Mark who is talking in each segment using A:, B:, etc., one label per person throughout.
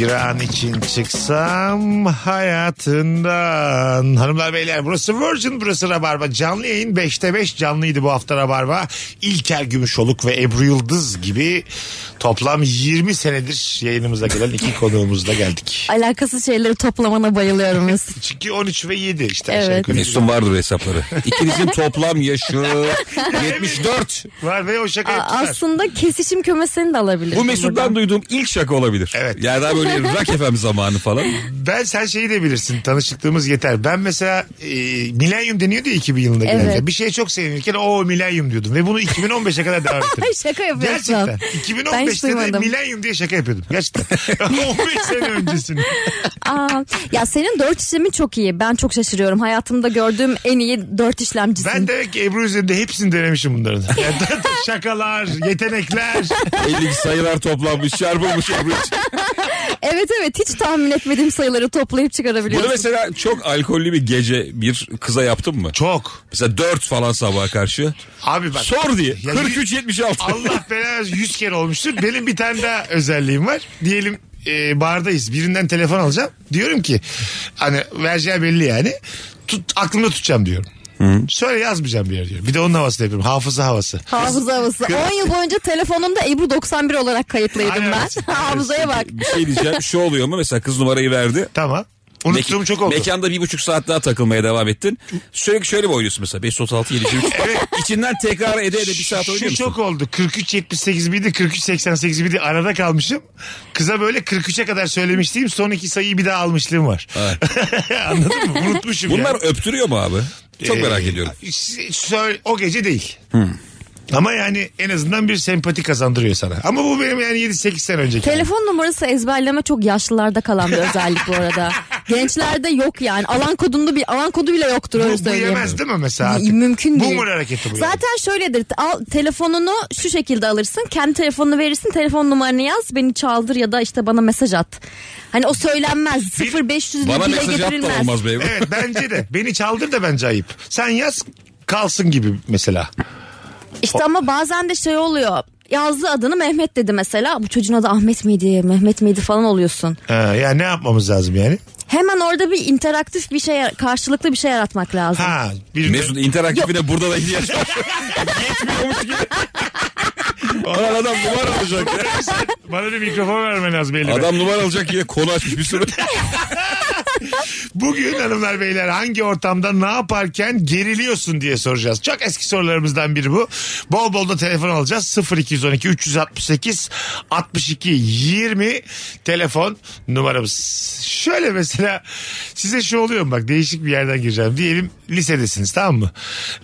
A: Bir an için çıksam hayatından. Hanımlar beyler burası Virgin burası Rabarba. Canlı yayın 5'te 5 canlıydı bu hafta Rabarba. İlker Gümüşoluk ve Ebru Yıldız gibi toplam 20 senedir yayınımıza gelen iki konuğumuzla geldik.
B: Alakasız şeyleri toplamana bayılıyorum Mesut.
A: Çünkü 13 ve 7 işte
B: Evet.
A: aşağı yukarı.
C: Mesut'un vardır hesapları. İkinizin toplam yaşı 74.
A: Var ve o şaka
B: Aa,
A: yaptılar.
B: Aslında kesişim kümesini de alabilirim.
C: Bu Mesut'tan
B: buradan.
C: duyduğum ilk şaka olabilir.
A: Evet.
C: Yani daha böyle rock FM zamanı falan.
A: Ben sen şeyi de bilirsin tanışıklığımız yeter. Ben mesela e, milenyum deniyordu ya 2000 yılında
B: Evet.
A: genelde. Bir şeye çok sevinirken o milenyum diyordum. Ve bunu 2015'e kadar devam ettim.
B: Ay, şaka yapıyorsun.
A: Gerçekten.
B: Ben hiç
A: 2015'te de
B: duymadım.
A: milenyum diye şaka yapıyordum. Gerçekten. 15 sene öncesini.
B: Aa, ya senin dört işlemin çok iyi. Ben çok şaşırıyorum. Hayatımda gördüğüm en iyi dört işlemcisin.
A: Ben demek ki Ebru üzerinde hepsini denemişim bunların. Yani Şakalar, yetenekler.
C: 52 sayılar toplanmış, çarpılmış. yapılmış.
B: Evet evet hiç tahmin etmediğim sayıları toplayıp
C: Bunu
B: çıkarabiliyorsun.
C: mesela çok alkollü bir gece bir kıza yaptın mı?
A: Çok.
C: Mesela 4 falan sabaha karşı.
A: Abi bak.
C: Sor diye.
A: Ya
C: 43-76.
A: Allah belanı 100 kere olmuştur. Benim bir tane daha özelliğim var. Diyelim e, bardayız. Birinden telefon alacağım. Diyorum ki hani vereceği belli yani. Tut, aklımda tutacağım diyorum. Söyle yazmayacağım bir yer diyorum. Bir de onun havasını yapıyorum. Hafıza havası.
B: Hafıza havası. 10 yıl boyunca telefonumda Ebru 91 olarak kayıtlıydım
A: Aynen.
B: ben. Hafızaya bak.
C: Bir şey diyeceğim. Şu oluyor mu? Mesela kız numarayı verdi.
A: Tamam. Unuttuğum
C: Mekan-
A: çok oldu.
C: Mekanda bir buçuk saat daha takılmaya devam ettin. Sürekli şöyle mi oynuyorsun mesela? 536 723. İçinden tekrar ede ede bir saat oynuyor
A: Şu
C: musun?
A: çok oldu. 43.78 miydi 43.88 miydi arada kalmışım. Kıza böyle 43'e kadar söylemiştim. Son iki sayıyı bir daha almışlığım var. Anladın mı? Unutmuşum
C: Bunlar
A: yani.
C: öptürüyor mu abi? Çok merak
A: Ee,
C: ediyorum.
A: s- Söyle, o gece değil. Ama yani en azından bir sempati kazandırıyor sana. Ama bu benim yani 7-8 sene önceki.
B: Telefon numarası ezberleme çok yaşlılarda kalan bir özellik bu arada. Gençlerde yok yani. Alan kodunda bir alan kodu bile yoktur öyle
A: bu, bu
B: söyleyeyim.
A: yemez değil mi mesela?
B: Y-
A: artık?
B: Mümkün değil.
A: Boomer hareketi bu. yani.
B: Zaten şöyledir. Al, telefonunu şu şekilde alırsın. Kendi telefonunu verirsin. Telefon numaranı yaz. Beni çaldır ya da işte bana mesaj at. Hani o söylenmez. 0500 bile
C: Bana mesaj at da
B: getirilmez.
C: olmaz be.
A: Evet bence de. Beni çaldır da bence ayıp. Sen yaz kalsın gibi mesela.
B: İşte ama bazen de şey oluyor. Yazdı adını Mehmet dedi mesela. Bu çocuğun adı Ahmet miydi, Mehmet miydi falan oluyorsun.
A: Ha, ya Ee, ne yapmamız lazım yani?
B: Hemen orada bir interaktif bir şey, karşılıklı bir şey yaratmak lazım.
A: Ha, bir
C: Mesut interaktifine burada da ihtiyaç var. Yetmiyormuş gibi. Ulan adam numara alacak ya.
A: Bana bir mikrofon vermen lazım elime.
C: Adam numara alacak diye konu açmış bir sürü.
A: Bugün hanımlar beyler hangi ortamda ne yaparken geriliyorsun diye soracağız. Çok eski sorularımızdan biri bu. Bol bol da telefon alacağız. 0212 368 62 20 telefon numaramız. Şöyle mesela size şu oluyor mu bak değişik bir yerden gireceğim. Diyelim lisedesiniz tamam mı?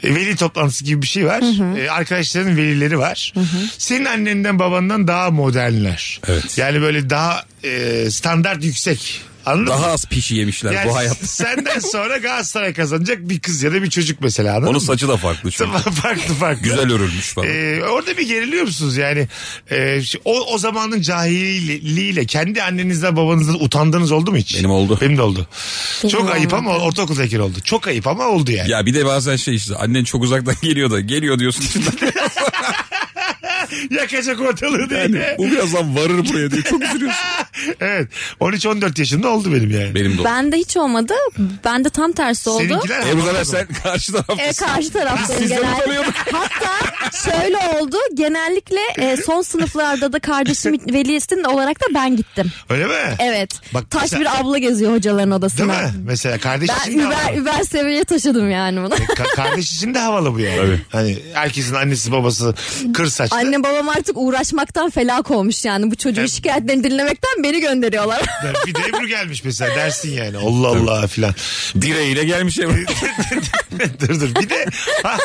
A: E, veli toplantısı gibi bir şey var. E, arkadaşların velileri var. Senin annenden babandan daha modernler.
C: Evet.
A: Yani böyle daha e, standart yüksek. Anladın mı?
C: Daha az pişi yemişler
A: Yani
C: bu hayat.
A: Senden sonra Galatasaray kazanacak bir kız ya da bir çocuk mesela. anladın
C: Onun
A: mı?
C: saçı da farklı çünkü.
A: farklı farklı.
C: Güzel örülmüş falan.
A: Ee, orada bir geriliyor musunuz yani? Ee, şu- o, o zamanın cahilliğiyle kendi annenizden babanızdan utandığınız oldu mu hiç?
C: Benim oldu.
A: Benim de oldu.
B: Benim
A: Çok ayıp
B: olmadı.
A: ama ortaokuldayken oldu. Çok ayıp ama oldu yani.
C: Ya bir de bazen şey işte annen çok uzaktan geliyor da geliyor diyorsun içinden.
A: Yakacak ortalığı diye.
C: Yani bu birazdan varır buraya diye çok üzülüyorsun.
A: evet. 13-14 yaşında oldu benim yani.
C: Benim de oldu.
B: Ben de hiç olmadı. Ben de tam tersi oldu.
A: Seninkiler
C: Ebru Zafer
A: anlamadı.
C: sen karşı
B: E,
C: taraftasın.
B: karşı taraftayım
C: Biz de
B: genelde.
C: utanıyorduk.
B: Hatta şöyle oldu. Genellikle e, son sınıflarda da kardeşim velisinin olarak da ben gittim.
A: Öyle mi?
B: Evet.
A: Bak
B: Taş
A: mesela-
B: bir abla geziyor hocaların
A: Değil
B: odasına.
A: mi? Mesela kardeşim
B: Ben über, über seviyeye taşıdım yani bunu.
A: Ka- kardeş için de havalı bu yani.
C: Tabii.
A: Hani herkesin annesi babası kır saçlı.
B: Anne babam artık uğraşmaktan felak olmuş yani. Bu çocuğun
A: Evet.
B: şikayetlerini dinlemekten beni gönderiyorlar.
A: Bir de Ebru gelmiş mesela dersin yani. Allah Allah filan.
C: Direğiyle gelmiş Ebru.
A: dur dur. Bir de ha-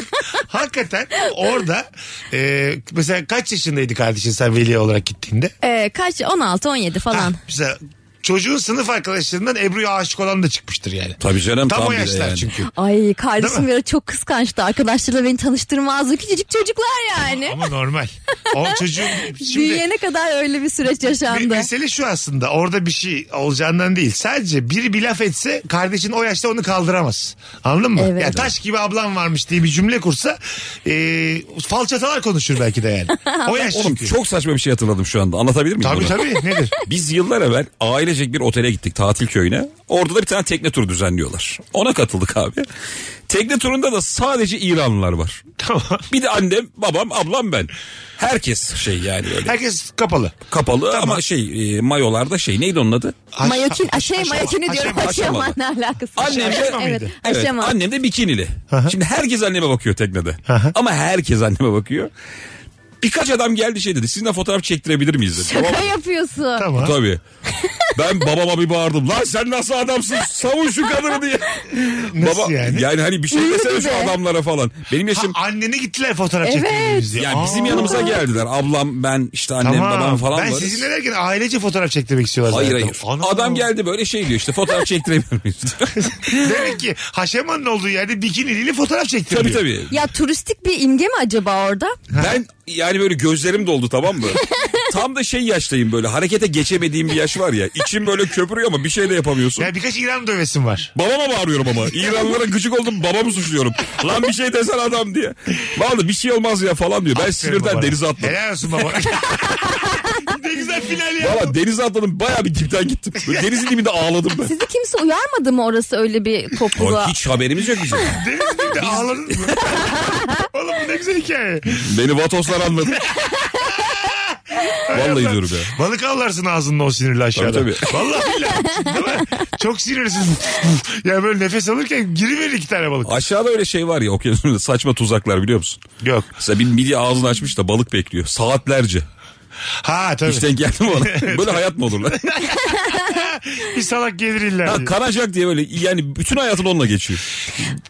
A: hakikaten orada e, mesela kaç yaşındaydı kardeşin sen veli olarak gittiğinde?
B: Ee, E, kaç? 16-17
A: Ha,
B: falan.
A: mesela çocuğun sınıf arkadaşlarından Ebru'ya aşık olan da çıkmıştır yani.
C: Tabii canım
A: Tam,
C: tam,
A: o
C: bir de
A: yaşlar
C: yani.
A: çünkü.
B: Ay
A: Değil mi?
B: kardeşim bir ara çok kıskançtı. Arkadaşlarıyla beni tanıştırmazdı. Küçücük çocuklar yani.
A: Ama normal. O çocuğun şimdi
B: Büyüyene kadar öyle bir süreç
A: Me-
B: yaşandı.
A: mesele şu aslında orada bir şey olacağından değil. Sadece biri bir laf etse kardeşin o yaşta onu kaldıramaz. Anladın mı?
B: Evet.
A: Ya taş gibi ablam varmış diye bir cümle kursa e, falçatalar konuşur belki de yani. O yaş
C: Oğlum
A: çünkü.
C: çok saçma bir şey hatırladım şu anda. Anlatabilir miyim
A: Tabii
C: bunu?
A: tabii nedir?
C: Biz yıllar evvel ailecek bir otele gittik tatil köyüne. Orada da bir tane tekne turu düzenliyorlar. Ona katıldık abi. Tekne turunda da sadece İranlılar var.
A: Tamam.
C: Bir de annem, babam, ablam ben. Herkes şey yani öyle
A: Herkes kapalı.
C: kapalı ama şey e, mayolarda şey neydi onun adı?
A: Haş-
B: Mayokin,
A: haş-
B: şey
A: haşama,
B: mayokini
A: haşama.
B: diyorum.
C: haşama.
B: Haşama ne alakası? var?
C: Annem de-
A: Haşama
B: evet,
A: mıydı?
C: Evet,
B: haşama.
C: annem de bikinili. Şimdi herkes anneme bakıyor teknede. Ama herkes anneme bakıyor. Birkaç adam geldi şey dedi. Sizinle fotoğraf çektirebilir miyiz dedi.
B: Şaka yapıyorsun.
A: Tamam.
C: E, Tabii. Ben babama bir bağırdım. Lan sen nasıl adamsın? Savun şu kadını diye.
A: Nasıl yani?
C: hani bir şey
B: Ünlü
C: desene şu
B: bir de.
C: adamlara falan. Benim
A: Ha,
C: yaşım
A: annene gittiler fotoğraf
B: Evet.
A: çektirmeye biz
C: yani bizim
A: Aa,
C: yanımıza geldiler. Ablam ben işte annem
A: tamam.
C: babam falan
A: Ben
C: varız.
A: sizinle derken ailece fotoğraf çektirmek istiyorlar.
C: Hayır
A: zaten.
C: hayır.
A: Ana.
C: Adam geldi böyle şey diyor işte fotoğraf çektiremiyor muyuz?
A: Demek ki Haşema'nın olduğu yerde bikiniliyle fotoğraf çektiriyor.
C: tabii tabii.
B: Ya turistik bir imge mi acaba orada?
C: Ben yani böyle gözlerim doldu tamam mı? Tam da şey yaştayım böyle harekete geçemediğim bir yaş var ya. İçim böyle köpürüyor ama bir şey de yapamıyorsun.
A: Yani birkaç İran dövesim var.
C: Babama bağırıyorum ama. İranlılara gıcık oldum babamı suçluyorum. Lan bir şey desen adam diye. Vallahi bir şey olmaz ya falan diyor. Ben sinirden
A: Babana.
C: denize atladım.
A: Helal olsun baba. ne güzel final ya.
C: Valla denize atladım bayağı bir dipten gittim. Böyle denizin dibinde ağladım ben.
B: Sizi kimse uyarmadı mı orası öyle bir topluluğa?
C: Ama hiç haberimiz yok bizim.
A: Deniz dibinde ağladın mı? Oğlum bu ne güzel hikaye.
C: Beni vatoslar anladı. Vallahi diyorum ya.
A: Balık avlarsın ağzınla o sinirli aşağıda.
C: Tabii,
A: Vallahi billahi. Değil mi? Çok sinirlisin. ya böyle nefes alırken giriverir iki tane balık.
C: Aşağıda öyle şey var ya okyanusta saçma tuzaklar biliyor musun?
A: Yok.
C: Mesela bir midye ağzını açmış da balık bekliyor saatlerce.
A: Ha tabii.
C: Hiç denk geldi mi ona? Böyle hayat mı olur lan?
A: Bir salak gelir illa.
C: Ha,
A: diye.
C: kanacak diye böyle yani bütün hayatın onunla geçiyor.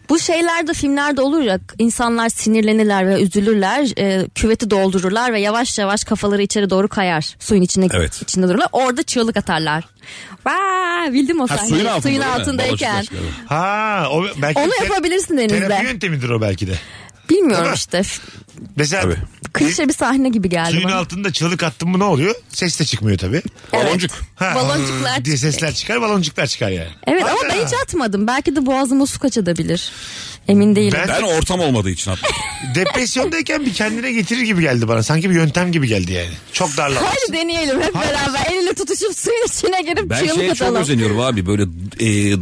B: Bu şeylerde filmlerde olur ya insanlar sinirlenirler ve üzülürler e, küveti doldururlar ve yavaş yavaş kafaları içeri doğru kayar suyun içine
C: Evet.
B: içinde dururlar orada çığlık atarlar. Vaa, bildim o
C: Ha,
B: sahneyi
C: suyun altında
B: suyun
C: değil mi?
B: altındayken.
C: Balıkçı taşları.
A: Ha o belki
B: Onu
A: te-
B: yapabilirsin
A: Terapi
B: denizde.
A: yöntemidir o belki de. Değil
B: Bilmiyorum
A: mi?
B: işte. F-
A: Mesela
C: Tabii.
B: Klişe bir sahne gibi geldi
A: suyun
B: bana.
A: altında çığlık attın mı ne oluyor? Ses de çıkmıyor tabii.
C: Baloncuk.
A: Ha,
B: Baloncuklar
A: diye sesler çıkar, baloncuklar çıkar yani.
B: Evet ama ben hiç atmadım. Belki de boğazıma su kaçabilir. Emin değilim.
C: Ben ortam olmadığı için atladım.
A: Depresyondayken bir kendine getirir gibi geldi bana. Sanki bir yöntem gibi geldi yani. Çok darlandım.
B: Hadi deneyelim hep beraber. El ele tutuşup suyun içine girip
C: Ben
B: çığlık
C: şeye çok
B: atalım.
C: özeniyorum abi böyle e,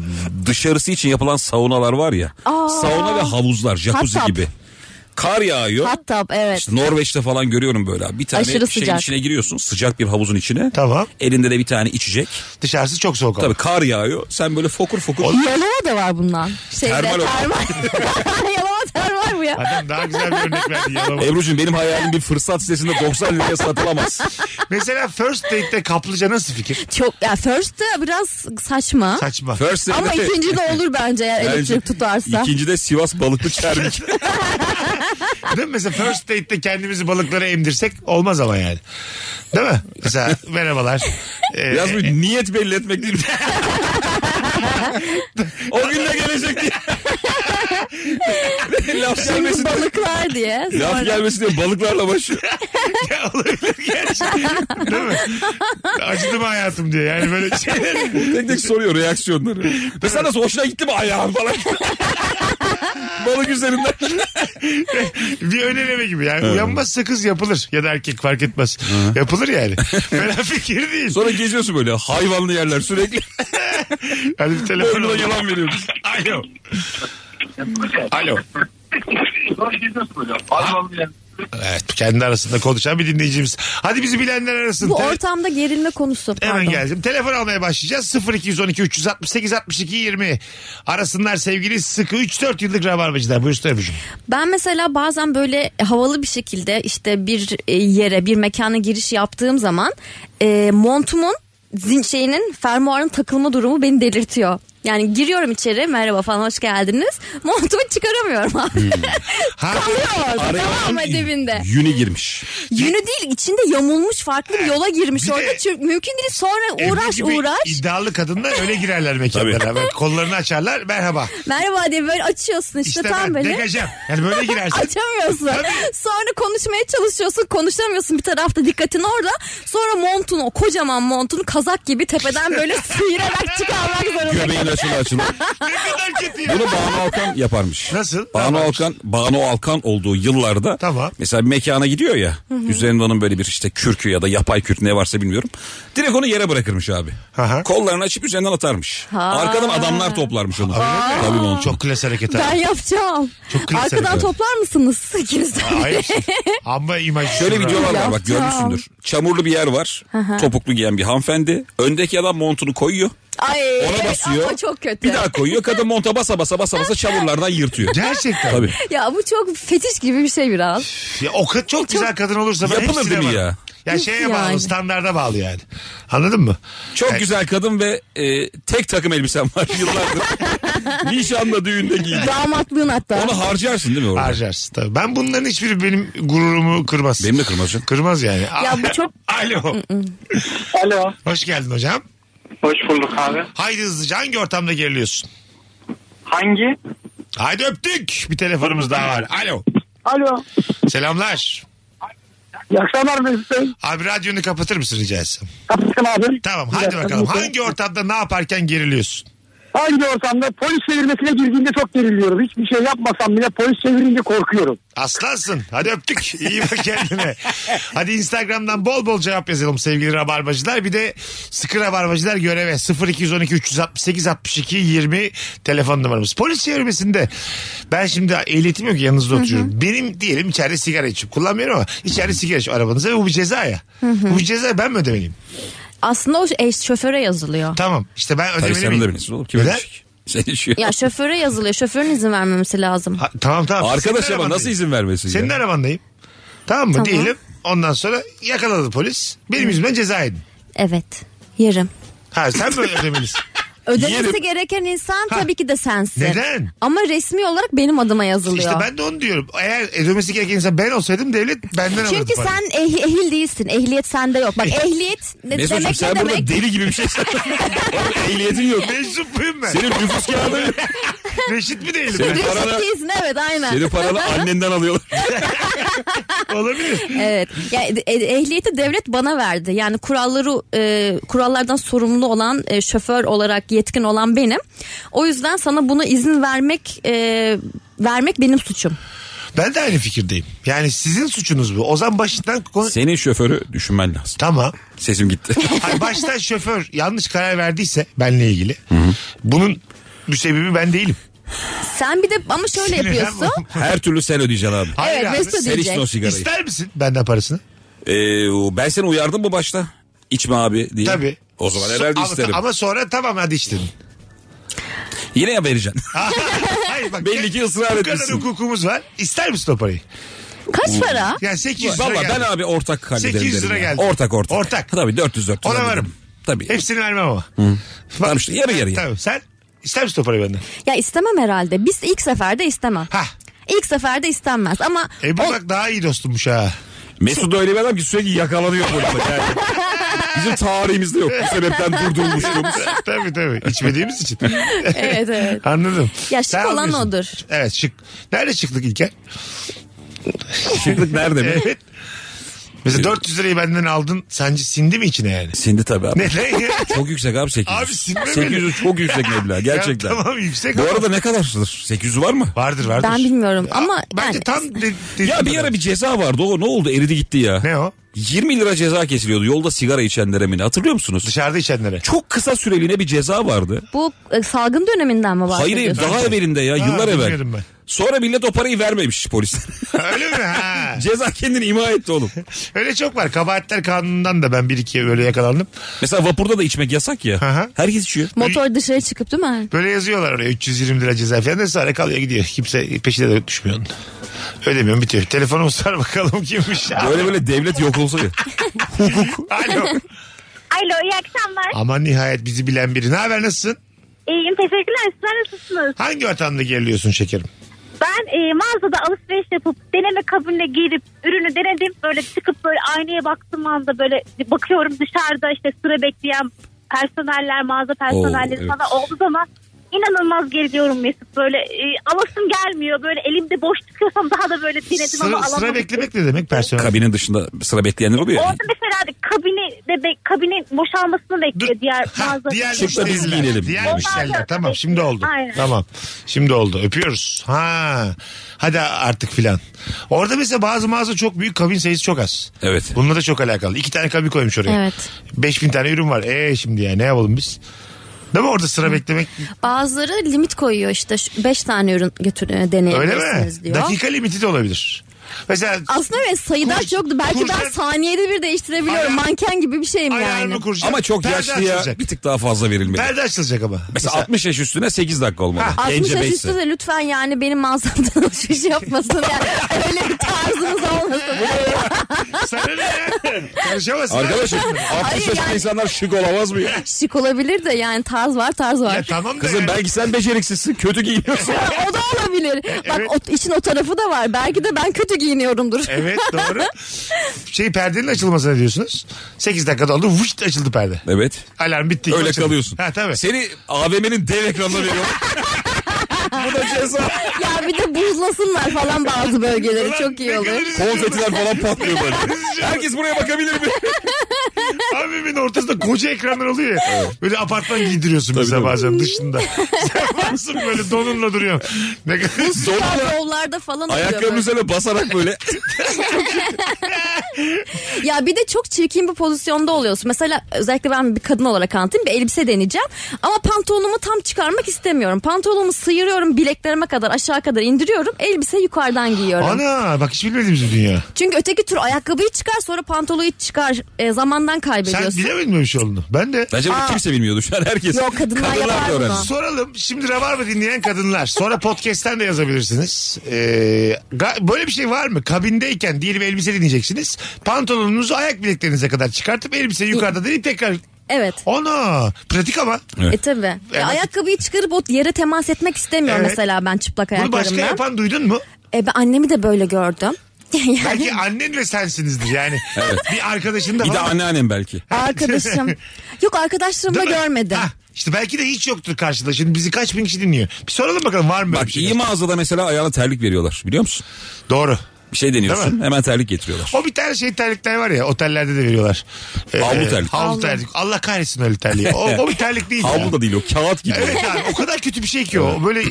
C: dışarısı için yapılan saunalar var ya.
B: Aa.
C: Sauna ve havuzlar jacuzzi
B: Hot tub.
C: gibi. Kar yağıyor.
B: Hot tub evet.
C: İşte Norveç'te falan görüyorum böyle abi. Bir tane
B: Aşırı
C: şeyin
B: sıcak.
C: içine giriyorsun sıcak bir havuzun içine.
A: Tamam.
C: Elinde de bir tane içecek.
A: Dışarısı çok soğuk ama.
C: Tabii kar yağıyor. Sen böyle fokur fokur.
B: Yalova da var bundan. Şeyde,
C: Termal
B: termal.
C: o.
B: Yalova termal bu ya.
A: Adam daha güzel bir örnek verdi. yalan.
C: Ebru'cum benim hayalim bir fırsat sitesinde 90 liraya satılamaz.
A: Mesela first date'te kaplıca nasıl fikir?
B: Çok ya first de biraz saçma.
A: Saçma.
C: First
B: Ama
C: date'de-
B: ikinci de olur bence eğer
C: Bence-
B: elektrik tutarsa.
C: İkinci de Sivas balıklı çermik.
A: Değil mi? Mesela first date'te kendimizi balıklara emdirsek olmaz ama yani. Değil mi? Mesela merhabalar. Ee,
C: Biraz bir niyet belli etmek değil. mi? o gün de gelecek diye. laf gelmesin
B: Çünkü
C: diye.
B: balıklar diye.
C: Laf
B: Sonra-
C: gelmesin diye balıklarla başlıyor.
A: Ya olabilir gerçekten. Değil mi? Acıdı mı hayatım diye. Yani böyle şeyler.
C: Tek tek soruyor reaksiyonları. Mesela nasıl hoşuna gitti mi ayağın falan. Balık üzerinden.
A: bir önereme gibi. Yani uyanmazsa kız yapılır. Ya da erkek fark etmez. Yapılır yani. Fena fikir değil.
C: Sonra geziyorsun böyle hayvanlı yerler sürekli.
A: Hadi bir telefon
C: Boynuna
A: alalım.
C: yalan veriyoruz.
A: Alo. Alo. Evet kendi arasında konuşan bir dinleyicimiz. Hadi bizi bilenler arasın.
B: Bu
A: Te-
B: ortamda gerilme konusu.
A: Hemen
B: Pardon.
A: geldim. Telefon almaya başlayacağız. 0212 368 62 20. Arasınlar sevgili sıkı 3-4 yıllık rabarbacılar. Buyursun öpücüğüm.
B: Ben mesela bazen böyle havalı bir şekilde işte bir e, yere bir mekana giriş yaptığım zaman e, montumun zin şeyinin fermuarın takılma durumu beni delirtiyor. Yani giriyorum içeri merhaba falan hoş geldiniz. Montumu çıkaramıyorum abi.
A: Hmm. Ha?
B: Kalıyor
C: Araya
B: tamam
C: bakın,
B: dibinde.
C: Yuni girmiş.
B: Yünü değil içinde yamulmuş farklı bir yola girmiş
A: Bir de-
B: orada. Çünkü mümkün değil sonra
A: Ebru
B: uğraş
A: gibi
B: uğraş.
A: İddialı kadınlar öyle girerler mekanlara. Ben kollarını açarlar merhaba.
B: Merhaba diye böyle açıyorsun işte,
A: İşte
B: tam
A: ben
B: böyle.
A: degajem. Yani böyle girersin.
B: Açamıyorsun. Sonra konuşmaya çalışıyorsun. Konuşamıyorsun bir tarafta dikkatin orada. Sonra montunu o kocaman montunu kazak gibi tepeden böyle sıyırarak çıkarmak zorunda.
C: Göbeğin açılı açılı.
A: ne kadar kötü ya.
C: Bunu Banu Alkan yaparmış.
A: Nasıl?
C: Banu
A: Yaparmış.
C: Alkan, Banu Alkan olduğu yıllarda
A: Tamam.
C: mesela bir mekana gidiyor ya. Üzerinde onun böyle bir işte kürkü ya da yapay kürk ne varsa bilmiyorum. Direkt onu yere bırakırmış abi.
A: Aha.
C: Kollarını açıp üzerinden atarmış. Arkadan adamlar toplarmış onu. Tabii onu.
A: Çok klas hareket abi.
B: Ben yapacağım.
A: Çok klasik
B: Arkadan
A: hareket.
B: toplar mısınız ikinizden? biri?
A: Hayır. Ama imaj.
C: Şöyle videolar var bak
B: Yaptım.
C: görmüşsündür. Çamurlu bir yer var. Topuklu giyen bir hanımefendi. Öndeki adam montunu koyuyor.
B: Ay,
C: Ona
B: evet,
C: basıyor.
B: ama çok kötü.
C: Bir daha koyuyor. Kadın monta basa basa basa basa çamurlardan yırtıyor.
A: Gerçekten.
C: Tabii.
B: Ya bu çok fetiş gibi bir şey biraz.
A: Ya o kadar çok güzel kadın olursa ben
C: Yapılır
A: hepsine
C: değil mi
A: varım.
C: ya?
A: Ya şeye bağlı
B: Yani.
A: standarda bağlı yani. Anladın mı?
C: Çok
A: Evet.
C: güzel kadın ve e, tek takım elbisem var yıllardır. Nişanla düğünde giydim.
B: Damatlığın hatta.
C: Onu harcarsın değil mi orada?
A: Harcarsın tabii. Ben bunların hiçbiri benim gururumu kırmaz.
C: Benim de kırmaz canım.
A: Kırmaz yani.
B: Ya bu çok- Mm,
A: Alo.
D: Alo.
A: Hoş geldin hocam.
D: Hoş bulduk abi.
A: Haydi hızlıca hangi ortamda geriliyorsun?
D: Hangi?
A: Haydi öptük. Bir telefonumuz daha var. Alo.
D: Alo.
A: Selamlar.
D: İyi akşamlar Mesut Bey.
A: Abi radyonu kapatır mısın rica etsem?
D: Kapatın abi.
A: Tamam hadi bakalım. Hangi ortamda ne yaparken geriliyorsun?
D: Hangi ortamda polis çevirmesine girdiğinde çok geriliyorum. Hiçbir şey yapmasam bile polis çevirince korkuyorum.
A: Aslansın. Hadi öptük. İyi bak kendine. Hadi Instagram'dan bol bol cevap yazalım sevgili rabarbacılar. Bir de sıkı rabarbacılar göreve 0212 368 62 20 telefon numaramız. Polis çevirmesinde ben şimdi ehliyetim yok yanınızda oturuyorum. Benim diyelim içeride sigara içip kullanmıyorum ama içeride sigara içip arabanıza ve bu bir ceza ya. Bu bir ceza ben mi ödemeliyim?
B: Aslında o eş, şoföre yazılıyor.
A: Tamam işte ben
C: Tabii
A: ödemeli
C: sen de
A: miyim?
C: bilirsin oğlum. Kim
A: Neden?
C: ödeyecek? Sen içiyor.
B: Ya şoföre yazılıyor. Şoförün izin vermemesi lazım.
A: Ha, tamam tamam.
C: Arkadaş
A: Senin
C: ama nasıl
A: arabandayım.
C: izin vermesin
B: E,
A: Senin
C: ya?
A: arabandayım. Tamam mı?
B: Tamam.
A: Değilim. Ondan sonra yakaladı polis. Benim yüzümden ceza yedin.
B: Evet. Yerim.
A: Ha sen böyle ödemelisin.
B: Ödemesi
C: Yerim.
B: gereken insan
A: Ha.
B: tabii ki de sensin.
A: Neden?
B: Ama resmi olarak benim adıma yazılıyor.
A: işte ben de onu diyorum. Eğer ödemesi gereken insan ben olsaydım devlet benden alırdı
B: Çünkü
A: parayı.
B: sen eh- ehil değilsin. Ehliyet sende yok.
A: E,
B: Bak ehliyet ne
C: Mesut'cum
B: demek ne
C: sen burada
B: demek?
C: deli gibi bir şey Oğlum ehliyetin yok.
A: Meczup muyum ben?
C: Senin nüfus kağıdı yok.
A: Reşit mi değilim?
C: Senin
B: Reşit
C: parana-
B: değilsin, evet aynen.
C: Senin paranı annenden alıyorlar.
A: Olabilir.
B: Evet. Ya, e- ehliyeti devlet bana verdi. Yani kuralları e, kurallardan sorumlu olan e, şoför olarak yetkin olan benim. O yüzden sana bunu izin vermek e, vermek benim suçum.
A: Ben de aynı fikirdeyim. Yani sizin suçunuz bu. Ozan başından konu...
C: Senin şoförü düşünmen lazım.
A: Tamam.
C: Sesim gitti.
A: Hayır, baştan şoför yanlış karar verdiyse benle ilgili. Bunun müsebbibi ben değilim.
B: Sen bir de ama şöyle
A: Sinirlenme.
B: yapıyorsun.
C: Her türlü sen ödeyeceksin abi.
A: Hayır
B: Evet
A: abi.
B: Mesut
C: Sen içtin
B: ödeyecek.
C: o sigarayı.
A: İster misin benden parasını?
C: Ee, o- ben seni uyardım mı başta? İçme abi diye.
A: Tabii.
C: O zaman
A: So-
C: herhalde
A: ama-
C: isterim.
A: Ama sonra tamam hadi içtin.
C: Yine ya vereceksin.
A: Hayır bak.
C: Belli ki ısrar
A: bu kadar
C: etmişsin.
A: hukukumuz var. İster misin o parayı?
B: Kaç para?
A: Yani 800 lira
C: Valla
A: geldi.
C: ben abi ortak hallederim
A: 800
C: derim
A: lira
C: ya.
A: geldi.
C: Ortak ortak.
A: Ortak.
C: Tabii 400 400.
A: Ona
C: hallederim.
A: varım.
C: Tabii.
A: Hepsini vermem ama. Bak-
C: Tamam işte, yarı yarıya.
A: Tamam sen ister misin o parayı benden?
B: Ya istemem herhalde. Biz ilk seferde istemem.
A: Hah.
B: İlk seferde istenmez ama
A: E bu
B: o-
A: bak daha iyi dostummuş ha.
C: Mesut da öyle bir adam ki sürekli yakalanıyor polise. Yani. Bizim tarihimizde yok. Bu sebepten durdurulmuş.
A: tabii tabii. İçmediğimiz için.
B: evet evet.
A: Anladım.
B: Ya şık olan
A: almıyorsun.
B: odur.
A: Evet şık. Nerede şıklık İlker?
C: Şıklık nerede mi?
A: Evet. Mesela 400 lirayı benden aldın. Sence sindi mi içine yani?
C: Sindi tabii abi.
A: Neden ya?
C: Çok yüksek abi 800.
A: Abi sinirlenme.
C: 800 çok yüksek meblağ gerçekten.
A: Ya tamam yüksek
C: Bu
A: ama-
C: arada ne kadardır? 800 var mı?
A: Vardır vardır.
B: Ben bilmiyorum ama
A: Bence
B: yani-
A: tam... de- de-
C: Ya bir ara bir ceza vardı o ne oldu eridi gitti ya.
A: Ne o?
C: 20 lira ceza kesiliyordu yolda sigara içenlere mi ne hatırlıyor musunuz?
A: Dışarıda içenlere.
C: Çok kısa süreliğine bir ceza vardı.
B: bu e, salgın döneminden mi
C: Hayır
B: bahsediyorsun?
C: hayır daha evvelinde ya
A: Ha,
C: yıllar
A: bilmiyordum
C: evvel.
A: ben.
C: Sonra millet o parayı vermemiş polisler.
A: Öyle mi? Ha.
C: Ceza kendini ima etti oğlum.
A: Öyle çok var. Kabahatler kanunundan da ben bir iki böyle yakalandım.
C: Mesela vapurda da içmek yasak ya.
A: Aha.
C: Herkes içiyor.
B: Motor dışarı çıkıp değil mi?
A: Böyle yazıyorlar oraya 320 lira ceza falan da sonra kalıyor gidiyor. Kimse peşine de düşmüyor onun. Ödemiyorum bitiyor. Telefonumu sar bakalım kimmiş.
C: Böyle böyle devlet yok olsa ya.
A: Alo.
E: Alo iyi akşamlar.
A: Aman nihayet bizi bilen biri. Ne haber nasılsın?
E: İyiyim teşekkürler sizler nasılsınız?
A: Hangi ortamda geriliyorsun şekerim?
E: Ben e, mağazada alışveriş yapıp deneme kabinine girip ürünü denedim. Böyle çıkıp böyle aynaya baktığım anda böyle bakıyorum dışarıda işte sıra bekleyen personeller, mağaza personelleri
C: Oo,
E: falan olduğu zaman inanılmaz geriliyorum Mesut. Böyle e, alasım gelmiyor. Böyle elimde boş çıkıyorsam daha da böyle denedim ama
A: Sıra,
E: alamadım.
A: sıra beklemek ne demek personel?
C: Kabinin dışında sıra bekleyenler oluyor. ya.
E: Orada mesela de kabini de be, kabinin boşalmasını bekliyor
A: Dur.
E: E, diğer
A: Ha,
E: mağaza.
A: diğer
C: Çık da biz
A: müşteriler.
C: giyinelim.
A: Diğer
C: Onlar
A: müşteriler.
E: da-
A: Tamam şimdi oldu.
E: Aynen.
A: Tamam. Şimdi oldu. Öpüyoruz. Ha. Hadi artık filan. Orada mesela bazı mağaza çok büyük kabin sayısı çok az.
C: Evet.
A: Bununla da çok alakalı. İki tane kabin koymuş oraya.
B: Evet.
A: 5000 tane ürün var. E şimdi ya ne yapalım biz? Değil mi orada sıra beklemek
B: Bazıları limit koyuyor işte 5 tane ürün götür e,
A: öyle mi?
B: deneyebilirsiniz diyor.
A: Dakika limiti de olabilir. Mesela
B: Aslında öyle sayıdaş
A: Kurs-
B: yoktu. Belki
A: kurslar-
B: ben saniyede bir değiştirebiliyorum.
A: Ayağım-
B: Manken gibi bir şeyim
A: ayağını
B: yani.
A: kuracak.
C: Ama çok
A: perde
C: yaşlıya
A: açılacak.
C: bir tık daha fazla verilmeli.
A: Perde açılacak ama.
C: Mesela 60 yaş üstüne 8 dakika olmalı.
A: Ha.
B: 60
C: Gence
B: yaş
C: beşse.
B: üstü de lütfen yani benim mağazamdan alışveriş yapmasın. Yani öyle bir tarzınız olmasın.
A: Sana ne ya? Konuşamazsın.
C: Arkadaşım 60
B: Hayır
C: yaşında
B: yani-
C: insanlar şık olamaz mı ya?
B: Şık olabilir de yani tarz var tarz
A: Ya
B: var.
A: tamam da
C: Kızım
A: yani.
C: belki sen beceriksizsin kötü giyiniyorsun.
B: o da olabilir.
A: E,
B: Bak o, işin o tarafı da var. Belki de ben kötü giyiniyorumdur.
A: Evet doğru. şey perdenin açılmasına diyorsunuz. 8 dakikada oldu. Vışt açıldı perde.
C: evet.
A: Alarm bitti.
C: Öyle
A: açıldı.
C: kalıyorsun.
A: Ha tabii.
C: Seni AVM'nin dev ekranına veriyor. Bu da ceza.
B: ya bir de buzlasınlar falan bazı bölgeleri
A: Ulan
B: çok
A: ne
B: iyi olur.
A: kadar üzücü
C: Konfetiler falan patlıyor böyle.
A: Üzücü.
C: Herkes buraya bakabilir mi?
A: Abimin ortasında koca ekranlar oluyor ya. Böyle apartman giydiriyorsun mesela
C: tabii.
A: bazen dışında. Sen varsın böyle donunla duruyorsun. Ne kadar
C: Sonra
B: Yollarda falan oluyor
C: ayaklarının
B: böyle.
C: üzerine basarak böyle.
B: Ya bir de çok çirkin bir pozisyonda oluyorsun. Mesela özellikle ben bir kadın olarak anlatayım. Bir elbise deneyeceğim. Ama pantolonumu tam çıkarmak istemiyorum. Pantolonumu sıyırıyorum bileklerime kadar aşağı kadar indiriyorum. Elbise yukarıdan giyiyorum.
A: Ana bak hiç bilmediğimiz bir dünya.
B: Çünkü öteki tür ayakkabıyı çıkar sonra pantoloyu çıkar. E, zamandan
A: Sen
B: kaybediyorsun.
A: bilemedin mi bir şey olduğunu? Ben de.
C: Bence bunu kimse bilmiyordu şu an herkes.
B: Yok, kadınlar yapar
C: da
B: bunu.
C: öğrensin.
A: Soralım şimdi Rabarba dinleyen kadınlar sonra podcast'ten de yazabilirsiniz. Ee, ga- böyle bir şey var mı? Kabindeyken diyelim elbise dinleyeceksiniz. Pantolonunuzu ayak bileklerinize kadar çıkartıp elbiseyi yukarıda değil tekrar.
B: Evet.
A: Ona pratik ama.
B: E tabi. E,
A: Evet.
B: ayakkabıyı çıkarıp o yere temas etmek istemiyorum
A: Evet.
B: mesela ben çıplak
A: Bunu başka
B: ayaklarımla.
A: yapan duydun mu?
B: E ben annemi de böyle gördüm. Yani
A: Belki annen ve sensinizdir yani. Bir arkadaşın da
C: Bir de
A: falan-
C: anneannem belki.
B: arkadaşım. Yok arkadaşlarım da
A: Değil mi? Ah.
B: görmedim.
A: Ha, işte belki de hiç yoktur karşıda. Şimdi bizi kaç bin kişi dinliyor. Bir soralım bakalım var mı böyle bir
C: Bak
A: şey?
C: iyi mağazada mesela ayağına terlik veriyorlar biliyor musun?
A: Doğru.
C: Bir şey
A: Değil
C: deniyorsun hemen terlik getiriyorlar.
A: O bir tane şey terlikler var ya otellerde de veriyorlar. Ee,
C: Havlu terlik.
A: Havlu terlik. Allah kahretsin öyle terliği. O, o bir terlik değil. ya.
C: Havlu da değil o kağıt gibi.
A: Evet abi o kadar kötü bir şey ki o. Böyle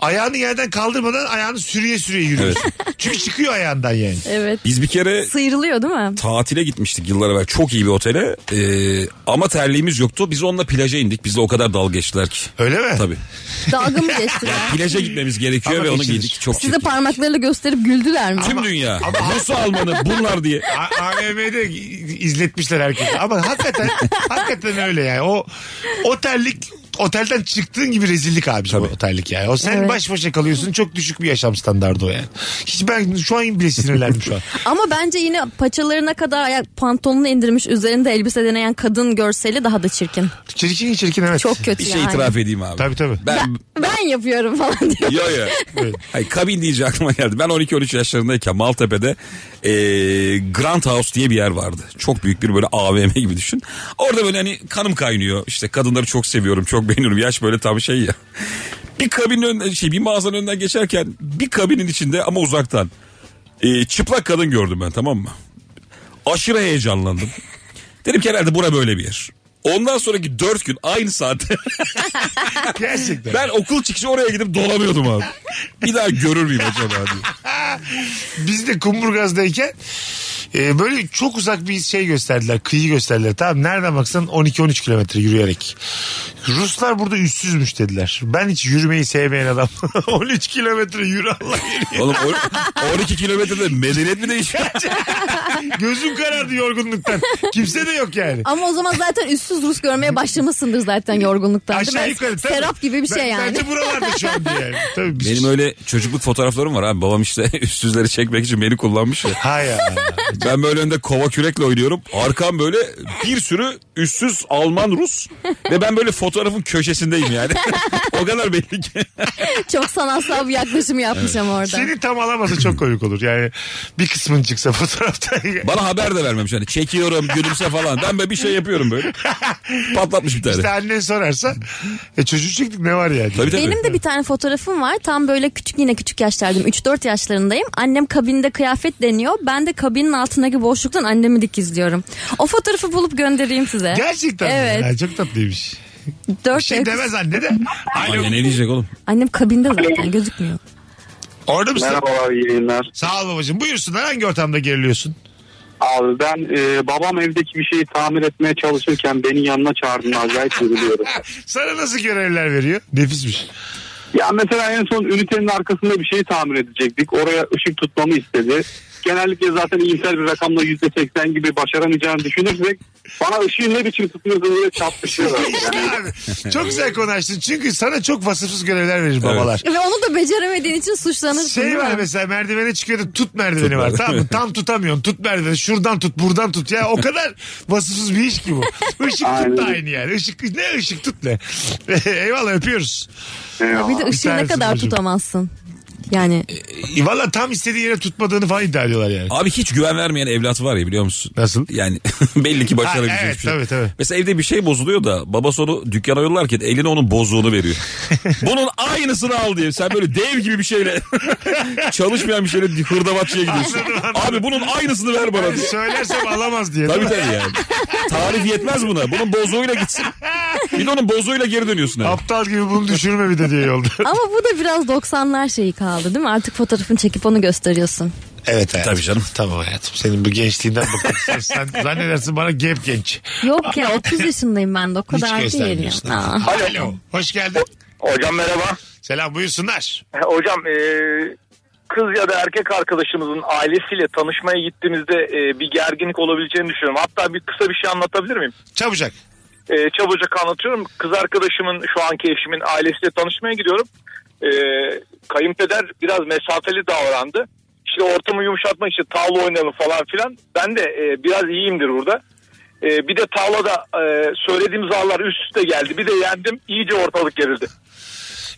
A: ayağını yerden kaldırmadan ayağını sürüye sürüye yürüyorsun. Çünkü çıkıyor ayağından yani.
B: Evet.
C: Biz bir kere
B: Sıyrılıyor değil mi?
C: tatile gitmiştik yıllar evvel çok iyi bir otele Ee, ama terliğimiz yoktu. Biz onunla plaja indik. Bizle o kadar dalga geçtiler ki.
A: Öyle mi?
C: Tabii.
B: Dalga mı geçtiler?
C: Plaja gitmemiz gerekiyor
A: Ama
C: ve onu
A: geçilir.
C: giydik. Çok
B: Size
C: çirkin.
B: parmaklarıyla gösterip güldüler mi?
C: Tüm dünya. Nasıl Almanı bunlar diye.
A: A- AVM'de izletmişler herkese. Ama hakikaten hakikaten öyle yani. O otellik otelden çıktığın gibi rezillik abi o otellik yani. O sen
B: Evet.
A: baş başa kalıyorsun. Çok düşük bir yaşam standardı o yani. Hiç ben şu an bile sinirlendim şu an.
B: Ama bence yine paçalarına kadar ayak pantolonunu indirmiş üzerinde elbise deneyen kadın görseli daha da çirkin.
A: Çirkin çirkin evet.
B: Çok kötü
C: Bir şey
B: yani.
C: itiraf edeyim abi.
A: Tabii tabii.
C: Ben
B: Ben yapıyorum falan diyor.
C: yo yo. Hayır, kabin deyince aklıma geldi. Ben 12-13 yaşlarındayken Maltepe'de eee, Grand House diye bir yer vardı. Çok büyük bir böyle AVM gibi düşün. Orada böyle hani kanım kaynıyor. İşte kadınları çok seviyorum, çok beğeniyorum. Yaş böyle tam şey ya. Bir kabinin önünden şey bir mağazanın önünden geçerken bir kabinin içinde ama uzaktan eee, çıplak kadın gördüm ben tamam mı? Aşırı heyecanlandım. Dedim ki herhalde bura böyle bir yer. Ondan sonraki dört gün aynı saatte
A: Gerçekten.
C: ben okul çıkışı oraya gidip dolanıyordum abi. Bir daha görür müyüm acaba diye.
A: Biz de Kumburgaz'dayken e, böyle çok uzak bir şey gösterdiler. Kıyı gösterdiler. Tamam nereden baksan 12-13 kilometre yürüyerek. Ruslar burada üstsüzmüş dediler. Ben hiç yürümeyi sevmeyen adam. 13 kilometre yürü Allah yürü.
C: Oğlum o- 12 kilometrede medeniyet mi değişiyor?
A: Gözüm karardı yorgunluktan. Kimse de yok yani.
B: Ama o zaman zaten üstsüz Rus görmeye başlamışsındır zaten yorgunluktan. değil mi?
A: Aşağı yukarı. tabii.
B: Serap gibi bir
A: Ben-
B: şey yani.
A: Bence buralarda şu anda yani. Tabii şey- biz-
C: Benim öyle çocukluk fotoğraflarım var abi. Babam işte üstsüzleri çekmek için beni kullanmış ya.
A: Ha ya.
C: Ben böyle önde kova kürekle oynuyorum. Arkam böyle bir sürü üstsüz Alman Rus ve ben böyle fotoğrafın köşesindeyim yani. o kadar belli ki.
B: Çok sanatsal bir yaklaşım yapmışım orada.
A: Seni tam alaması çok komik olur. Yani bir kısmın çıksa fotoğrafta.
C: Bana haber de vermemiş hani çekiyorum gülümse falan. Ben böyle bir şey yapıyorum böyle. Patlatmış bir
A: işte
C: tane.
A: annen sorarsa e, çocuğu çektik ne var yani?
C: Tabii tabii.
B: Benim de bir tane fotoğrafım var. Tam böyle küçük yine küçük yaşlardayım. 3-4 yaşlarındayım. Annem kabinde kıyafet deniyor. Ben de kabinin altındaki boşluktan annemi dik izliyorum. O fotoğrafı bulup göndereyim size.
A: Gerçekten. mi?
B: Evet.
A: Ha, çok tatlıymış. Bir
B: 4
A: şey demez anne de. Alo.
C: Anne ne diyecek oğlum?
B: Annem kabinde zaten gözükmüyor.
A: Orada mısın?
D: Merhabalar iyi yayınlar.
A: Sağ ol babacığım. Buyursunlar hangi ortamda geriliyorsun?
D: Abi ben e, babam evdeki bir şeyi tamir etmeye çalışırken beni yanına çağırdığında acayip üzülüyorum.
A: Sana nasıl görevler veriyor? Nefismiş.
D: Ya mesela en son ünitenin arkasında bir şey tamir edecektik. Oraya ışık tutmamı istedi. Genellikle zaten iyimser bir rakamla %80 gibi başaramayacağını düşünürsek bana ışığı ne biçim tutuyorsun diye çarpışıyorlar. Yani.
A: Abi, çok güzel konu açtın. Çünkü sana çok vasıfsız görevler verir babalar.
B: Ve onu da beceremediğin için suçlanırsın
A: Şey
B: değil mi?
A: var mesela merdivene çıkıyordu tut merdiveni var tamam mı? Tam tutamıyorsun tut merdiveni şuradan tut buradan tut ya o kadar vasıfsız bir iş ki bu. Işık tut da
D: Aynen.
A: aynı yani. Işık, ne ışık tut ne. Eyvallah öpüyoruz.
D: Eyvallah.
B: Bir de ışığı ne
A: tanesin
B: kadar
A: bacım.
B: tutamazsın. Yani
A: E, Valla tam istediği yere tutmadığını falan iddia ediyorlar yani.
C: Abi hiç güven vermeyen evlat var ya biliyor musun?
A: Nasıl?
C: Yani belli ki başarabilecek
A: Ha, evet,
C: bir şey.
A: tabii, tabii.
C: Mesela evde bir şey bozuluyor da babası onu dükkana yollarken eline onun bozduğunu veriyor. Bunun aynısını al diye. Sen böyle dev gibi bir şeyle çalışmayan bir şeyle hırdavatçıya gidiyorsun.
A: Anladım, anladım.
C: Abi bunun aynısını ver bana
A: Yani
C: diye.
A: söylersem alamaz diye. değil
C: Tabii
A: mi?
C: tabii yani. Tarif yetmez buna. Bunun bozuğuyla gitsin. Bir de onun bozuğuyla geri dönüyorsun. abi.
A: Aptal gibi bunu düşürme bir de diye yolda.
B: ama bu da biraz 90'lar şeyi kaldı değil mi? Artık fotoğrafını çekip onu gösteriyorsun.
A: Evet hayatım.
C: Tabii canım.
A: Tamam hayatım. Senin bu gençliğinden bıktım. Sen- Sen zannedersin bana gep genç.
B: Yok ya 30 yaşındayım ben de o
A: Hiç
B: kadar değilim.
A: göstermiyorsun.
B: Aa.
A: Alo. Hoş geldin.
F: Hocam merhaba.
A: Selam buyursunlar.
F: E, Hocam e, kız ya da erkek arkadaşımızın ailesiyle tanışmaya gittiğimizde e, bir gerginlik olabileceğini düşünüyorum. Hatta bir kısa bir şey anlatabilir miyim?
A: Çabucak.
F: E, çabucak anlatıyorum. Kız arkadaşımın şu anki eşimin ailesiyle tanışmaya gidiyorum. E, kayınpeder biraz mesafeli davrandı. İşte ortamı yumuşatmak için tavla oynayalım falan filan. Ben de e, biraz iyiyimdir burada. E, bir de tavlada e, söylediğim zarlar üst üste geldi. Bir de yendim. iyice ortalık gerildi.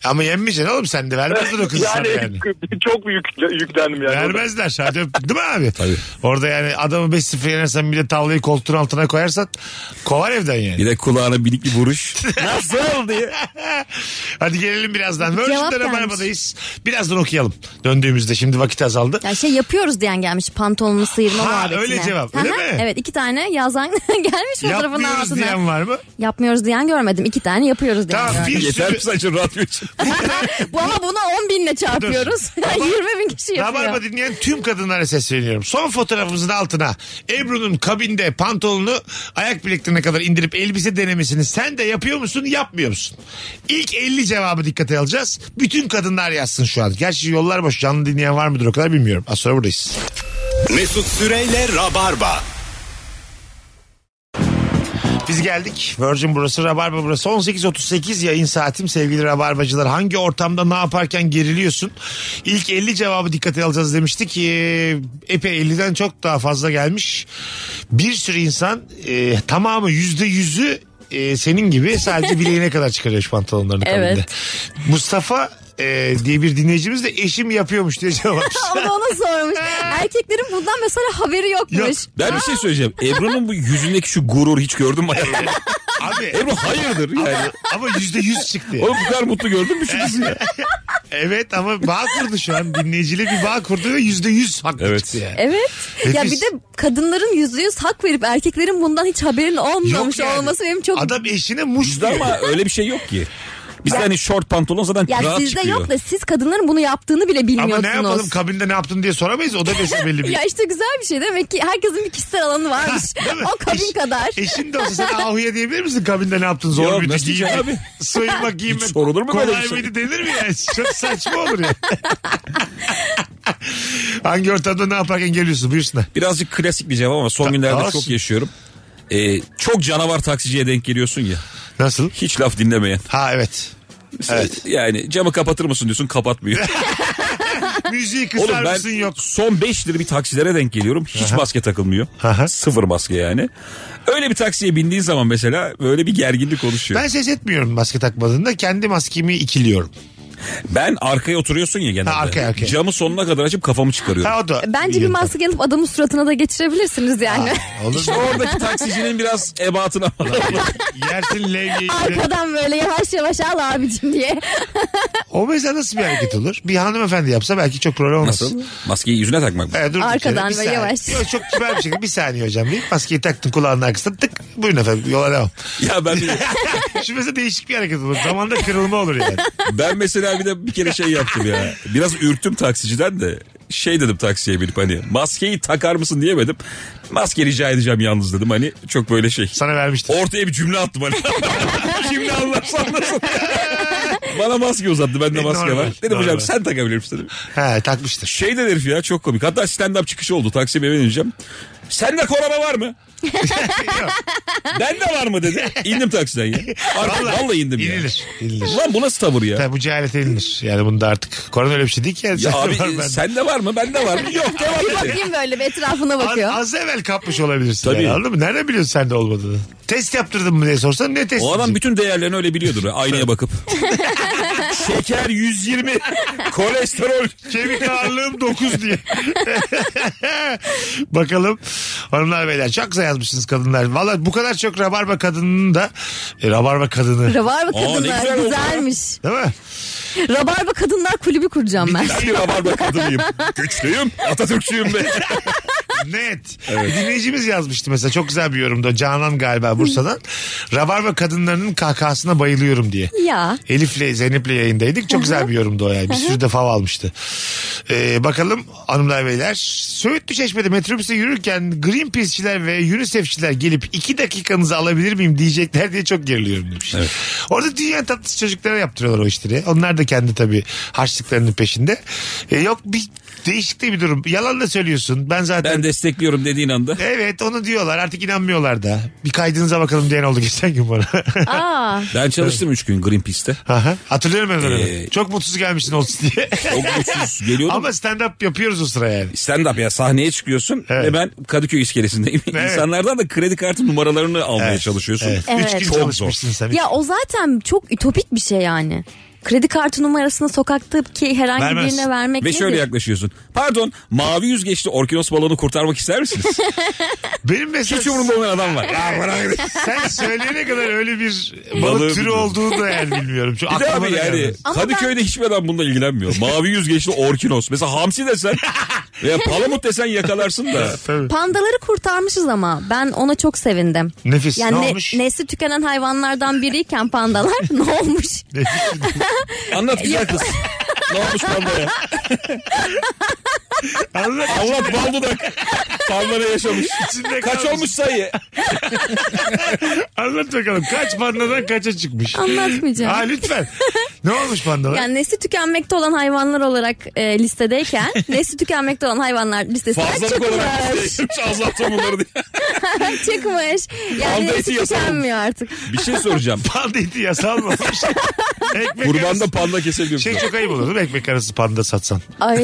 A: Ama yenmeyeceksin oğlum sen de. Vermezler o kızı sana
F: yani,
A: yani.
F: çok yükle- yüklendim yani.
A: Vermezler. Hadi öp- Değil mi abi?
C: Tabii.
A: Orada yani adamı 5-0 yenersen bir de tavlayı koltuğun altına koyarsan kovar evden yani.
C: Bir de kulağına binik bir vuruş. Nasıl diye.
A: Hadi gelelim birazdan.
B: Cevap
A: Virgin'de
B: gelmiş.
A: Rabarba'dayız. Birazdan okuyalım. Döndüğümüzde şimdi vakit azaldı.
B: Ya şey yapıyoruz diyen gelmiş pantolonunu sıyırma
A: Ha,
B: muhabbetine.
A: öyle cevap,
B: Hı hı.
A: öyle mi?
B: Evet iki tane yazan gelmiş fotoğrafın
A: Yapmıyoruz
B: altına.
A: diyen var mı?
B: Yapmıyoruz diyen görmedim. iki tane yapıyoruz diyen
A: Tamam
B: görmedim.
A: bir
C: Yeter
A: sürü...
C: mi sence radyo için?
B: Bu ama buna 10 binle çarpıyoruz.
A: Rabar-
B: 20 bin kişi
A: Rabarba
B: yapıyor.
A: dinleyen tüm kadınlara sesleniyorum. Son fotoğrafımızın altına Ebru'nun kabinde pantolonunu ayak bileklerine kadar indirip elbise denemesini sen de yapıyor musun yapmıyor musun? İlk 50 cevabı dikkate alacağız. Bütün kadınlar yazsın şu an. Gerçi yollar boş canlı dinleyen var mıdır o kadar bilmiyorum. Az sonra buradayız.
G: Mesut Süreyle Rabarba.
A: Biz geldik. Virgin burası, Rabarba burası. 18.38 yayın saatim sevgili Rabarbacılar. Hangi ortamda ne yaparken geriliyorsun? İlk 50 cevabı dikkate alacağız demiştik. Ee, epey 50'den çok daha fazla gelmiş. Bir sürü insan e, tamamı %100'ü e, senin gibi sadece bileğine kadar çıkarıyor şu pantolonlarını
B: Evet.
A: kabinde. Mustafa e, diye bir dinleyicimiz de eşim yapıyormuş diye cevap. vermiş.
B: Onu da ona sormuş. Erkeklerin bundan mesela haberi yokmuş.
C: Ben bir şey söyleyeceğim. Ebru'nun bu yüzündeki şu gurur hiç gördün mü? hayatında?
A: Abi
C: Ebru hayırdır yani.
A: ama %100 çıktı.
C: Oğlum bu kadar mutlu gördün mü şu kızı ya?
A: Evet ama bağ kurdu şu an. Dinleyiciyle bir bağ kurdu ve %100 haklı
C: Evet.
A: çıktı yani.
B: Evet. Ya
A: Nefis.
B: bir de kadınların yüzde yüz hak verip erkeklerin bundan hiç haberin olmamış
A: yani.
B: olması benim çok...
A: Adam eşine muş
C: Bizde
A: diyor.
C: ama öyle bir şey yok ki. Bizde hani short pantolon zaten
B: ya
C: rahat
B: sizde
C: çıkıyor.
B: yok da siz kadınların bunu yaptığını bile
A: Ama
B: bilmiyorsunuz.
A: ne yapalım kabinde ne yaptın diye soramayız. O da mesela belli bir.
B: Ya işte güzel bir şey demek ki herkesin bir kişisel alanı varmış.
A: Değil mi?
B: o kabin
A: Eş-
B: kadar.
A: Eşin de olsa sen ahuya diyebilir misin kabinde ne yaptın zor
C: Yok,
A: muydu
C: nasıl
A: giyinmek?
C: diyeceğim
A: Soyunmak giyinmek
C: Hiç sorulur mu
A: kolay
C: böyle bir şey?
A: mıydı denir mi yani? Çok saçma olur ya. Hangi ortamda ne yaparken geliyorsun buyursunlar.
C: Birazcık klasik bir cevap ama son günlerde
A: olsun.
C: çok yaşıyorum. Ee, çok canavar taksiciye denk geliyorsun ya.
A: Nasıl?
C: Hiç laf dinlemeyen.
A: Ha evet.
C: Yani camı kapatır mısın diyorsun kapatmıyor.
A: Müziği
C: Oğlum
A: kısar
C: ben
A: mısın yok.
C: son 5 lira bir taksilere denk geliyorum. Hiç maske takılmıyor.
A: Aha.
C: Sıfır maske yani. Öyle bir taksiye bindiğin zaman mesela böyle bir gerginlik oluşuyor.
A: Ben
C: Ben,
A: ses etmiyorum maske takmadığında. Kendi maskemi ikiliyorum.
C: arkaya oturuyorsun ya genelde.
A: Ha, arkaya, arkaya.
C: Camı sonuna kadar açıp kafamı çıkarıyorum.
A: Ha o da.
B: Bence bir maske alıp adamın suratına da geçirebilirsiniz yani.
A: Olur mu?
C: Oradaki taksicinin biraz ebatına bak.
A: Yersin levyeyi.
B: Arkadan böyle yavaş yavaş al abicim diye.
A: O mesela nasıl bir hareket olur? Bir hanımefendi yapsa belki çok problem olmaz.
C: Nasıl? Maskeyi yüzüne takmak mı?
A: Ee, dur bir
B: Arkadan
A: kere, bir
B: ve
A: saniye.
B: yavaş.
A: Yok, çok kibar bir şekilde. Bir saniye hocam deyip maskeyi taktın kulağının arkasına tık. Buyurun efendim yola devam.
C: Ya ben bir-
A: Şu mesela değişik bir hareket olur. Zamanda kırılma olur yani.
C: ben mesela bir de bir kere şey yaptım ya. Biraz ürktüm taksiciden de. Şey dedim taksiye binip hani maskeyi takar mısın diyemedim. Maske rica edeceğim yalnız dedim hani çok böyle şey.
A: Sana vermiştim.
C: Ortaya bir cümle attım hani. Kim ne anlarsa anlasın. Bana maske uzattı. Bende
A: E,
C: maske
A: normal,
C: var. Dedim
A: normal.
C: hocam sen takabilir misin dedim.
A: He takmıştır.
C: Şey de herif ya çok komik. Hatta stand-up çıkışı oldu. Taksiye eve ineceğim. Sende korona var mı? Bende var mı dedi. İndim taksiden ya. Artık vallahi, indim ya.
A: İnilir. İnilir.
C: Lan bu nasıl tavır ya?
A: Tabii bu cehalet ilinir. Yani bunda artık korona öyle bir şey değil ki. Yani
C: Ya
A: Sen de
C: abi
A: var, ben de.
C: e, sende var mı? Bende var mı? Yok devam
B: Bir
C: dedi.
B: bakayım böyle bir etrafına
A: Az,
B: bakıyor.
A: az evvel kapmış olabilirsin.
C: Tabii.
A: Yani, anladın mı? Nereden biliyorsun sen de olmadığını? Test yaptırdın mı diye sorsan ne test
C: O adam bütün değerlerini öyle biliyordur. Aynaya bakıp. Şeker 120. Kolesterol.
A: Kemik ağırlığım 9 diye. Bakalım hanımlar beyler çok güzel yazmışsınız kadınlar. Valla bu kadar çok rabarba kadının da e, rabarba kadını
B: Rabarba
C: Aa, ne
B: kadınlar
C: güzel oldu
B: güzelmiş.
A: değil mi?
B: Rabarba kadınlar kulübü kuracağım ben.
C: Ben bir rabarba kadınıyım. Güçlüyüm. Atatürkçüyüm be.
A: Net. Dinleyicimiz yazmıştı mesela çok güzel bir yorumda Canan galiba Bursa'dan. rabarba kadınlarının kahkahasına bayılıyorum diye.
B: Ya.
A: Elif'le Zeynep'le yayındaydık. Çok güzel bir yorumdu o yani. Bir sürü de fav almıştı. Ee, bakalım hanımlar beyler. Söğütlü Çeşme'de metrobüste yürürken Greenpeace'çiler ve UNICEF'çiler gelip iki dakikanızı alabilir miyim diyecekler diye çok geriliyorum demiş. Orada dünya tatlısı çocuklara yaptırıyorlar o işleri. Onlar da kendi tabii harçlıklarının peşinde. Ee, yok bir değişik de bir durum. Yalan da söylüyorsun. Ben zaten
C: Ben destekliyorum dediğin anda.
A: Evet onu diyorlar artık inanmıyorlar da. Bir kaydınıza bakalım diyen oldu geçen gün bana.
B: Aa,
C: Ben çalıştım 3 gün Greenpeace'te.
A: Aha, Hatırlıyorum ben onu.
C: Ee,
A: Çok mutsuz gelmiştin olsun diye.
C: Çok mutsuz geliyordum.
A: Ama stand up yapıyoruz o sıra yani.
C: Stand up ya sahneye çıkıyorsun
A: Evet.
C: ve ben Kadıköy iskelesindeyim.
A: Evet.
C: İnsanlardan da kredi kartı numaralarını almaya
A: Evet.
C: çalışıyorsun.
A: Evet.
B: Evet.
A: Üç gün
C: Çok zor.
A: çalışmışsın sen.
B: ya o zaten çok ütopik bir şey yani. Kredi kartı numarasını sokaktaki herhangi
A: Vermez.
B: birine vermek
C: Ve
B: nedir?
C: şöyle yaklaşıyorsun. Pardon mavi yüzgeçli orkinos balonu kurtarmak ister misiniz?
A: Benim mesela
C: Hiç umurumda olmayan adam var. Ya bırak.
A: sen söyleyene kadar öyle bir balık
C: Balığı
A: türü
C: bilmiyorum.
A: olduğunu da yani bilmiyorum. Şu
C: Bir de
A: aklıma
C: abi
A: da
C: yani
A: gelmez.
B: Ama
C: Kadıköy'de hiçbir adam bununla ilgilenmiyor. Mavi yüzgeçli orkinos. Mesela hamsi desen veya palamut desen yakalarsın da.
A: Tabii.
B: Pandaları kurtarmışız ama ben ona çok sevindim.
A: Nefis.
B: Yani
A: ne,
B: ne-
A: olmuş?
B: nesli tükenen hayvanlardan biriyken pandalar ne olmuş?
C: Anlat güzel kız. ne olmuş pandaya?
A: Anlat.
C: Anlat bal dudak. Pandara yaşamış.
A: İçinde
C: Kaç
A: kalmış.
C: olmuş sayı?
A: Anlat bakalım. Kaç pandadan kaça çıkmış?
B: Anlatmayacağım.
A: Ha lütfen. Ne olmuş pandalar?
B: Yani nesli tükenmekte olan hayvanlar olarak e, listedeyken nesli tükenmekte olan hayvanlar listesinden
C: Fazlalık olarak
B: çıkmış.
C: isteymiş. Azalttım bunları diye.
B: çıkmış. Yani
C: Panda
B: nesli
C: eti yasalım.
B: tükenmiyor artık.
C: Bir şey soracağım.
A: Panda eti yasal mı olmuş? Ekmek
C: Kurbanda
A: arası-
C: panda kesebiliyor
A: Şey
C: musun?
A: çok ayıp olur değil mi? Ekmek arası panda satsan.
B: Ay.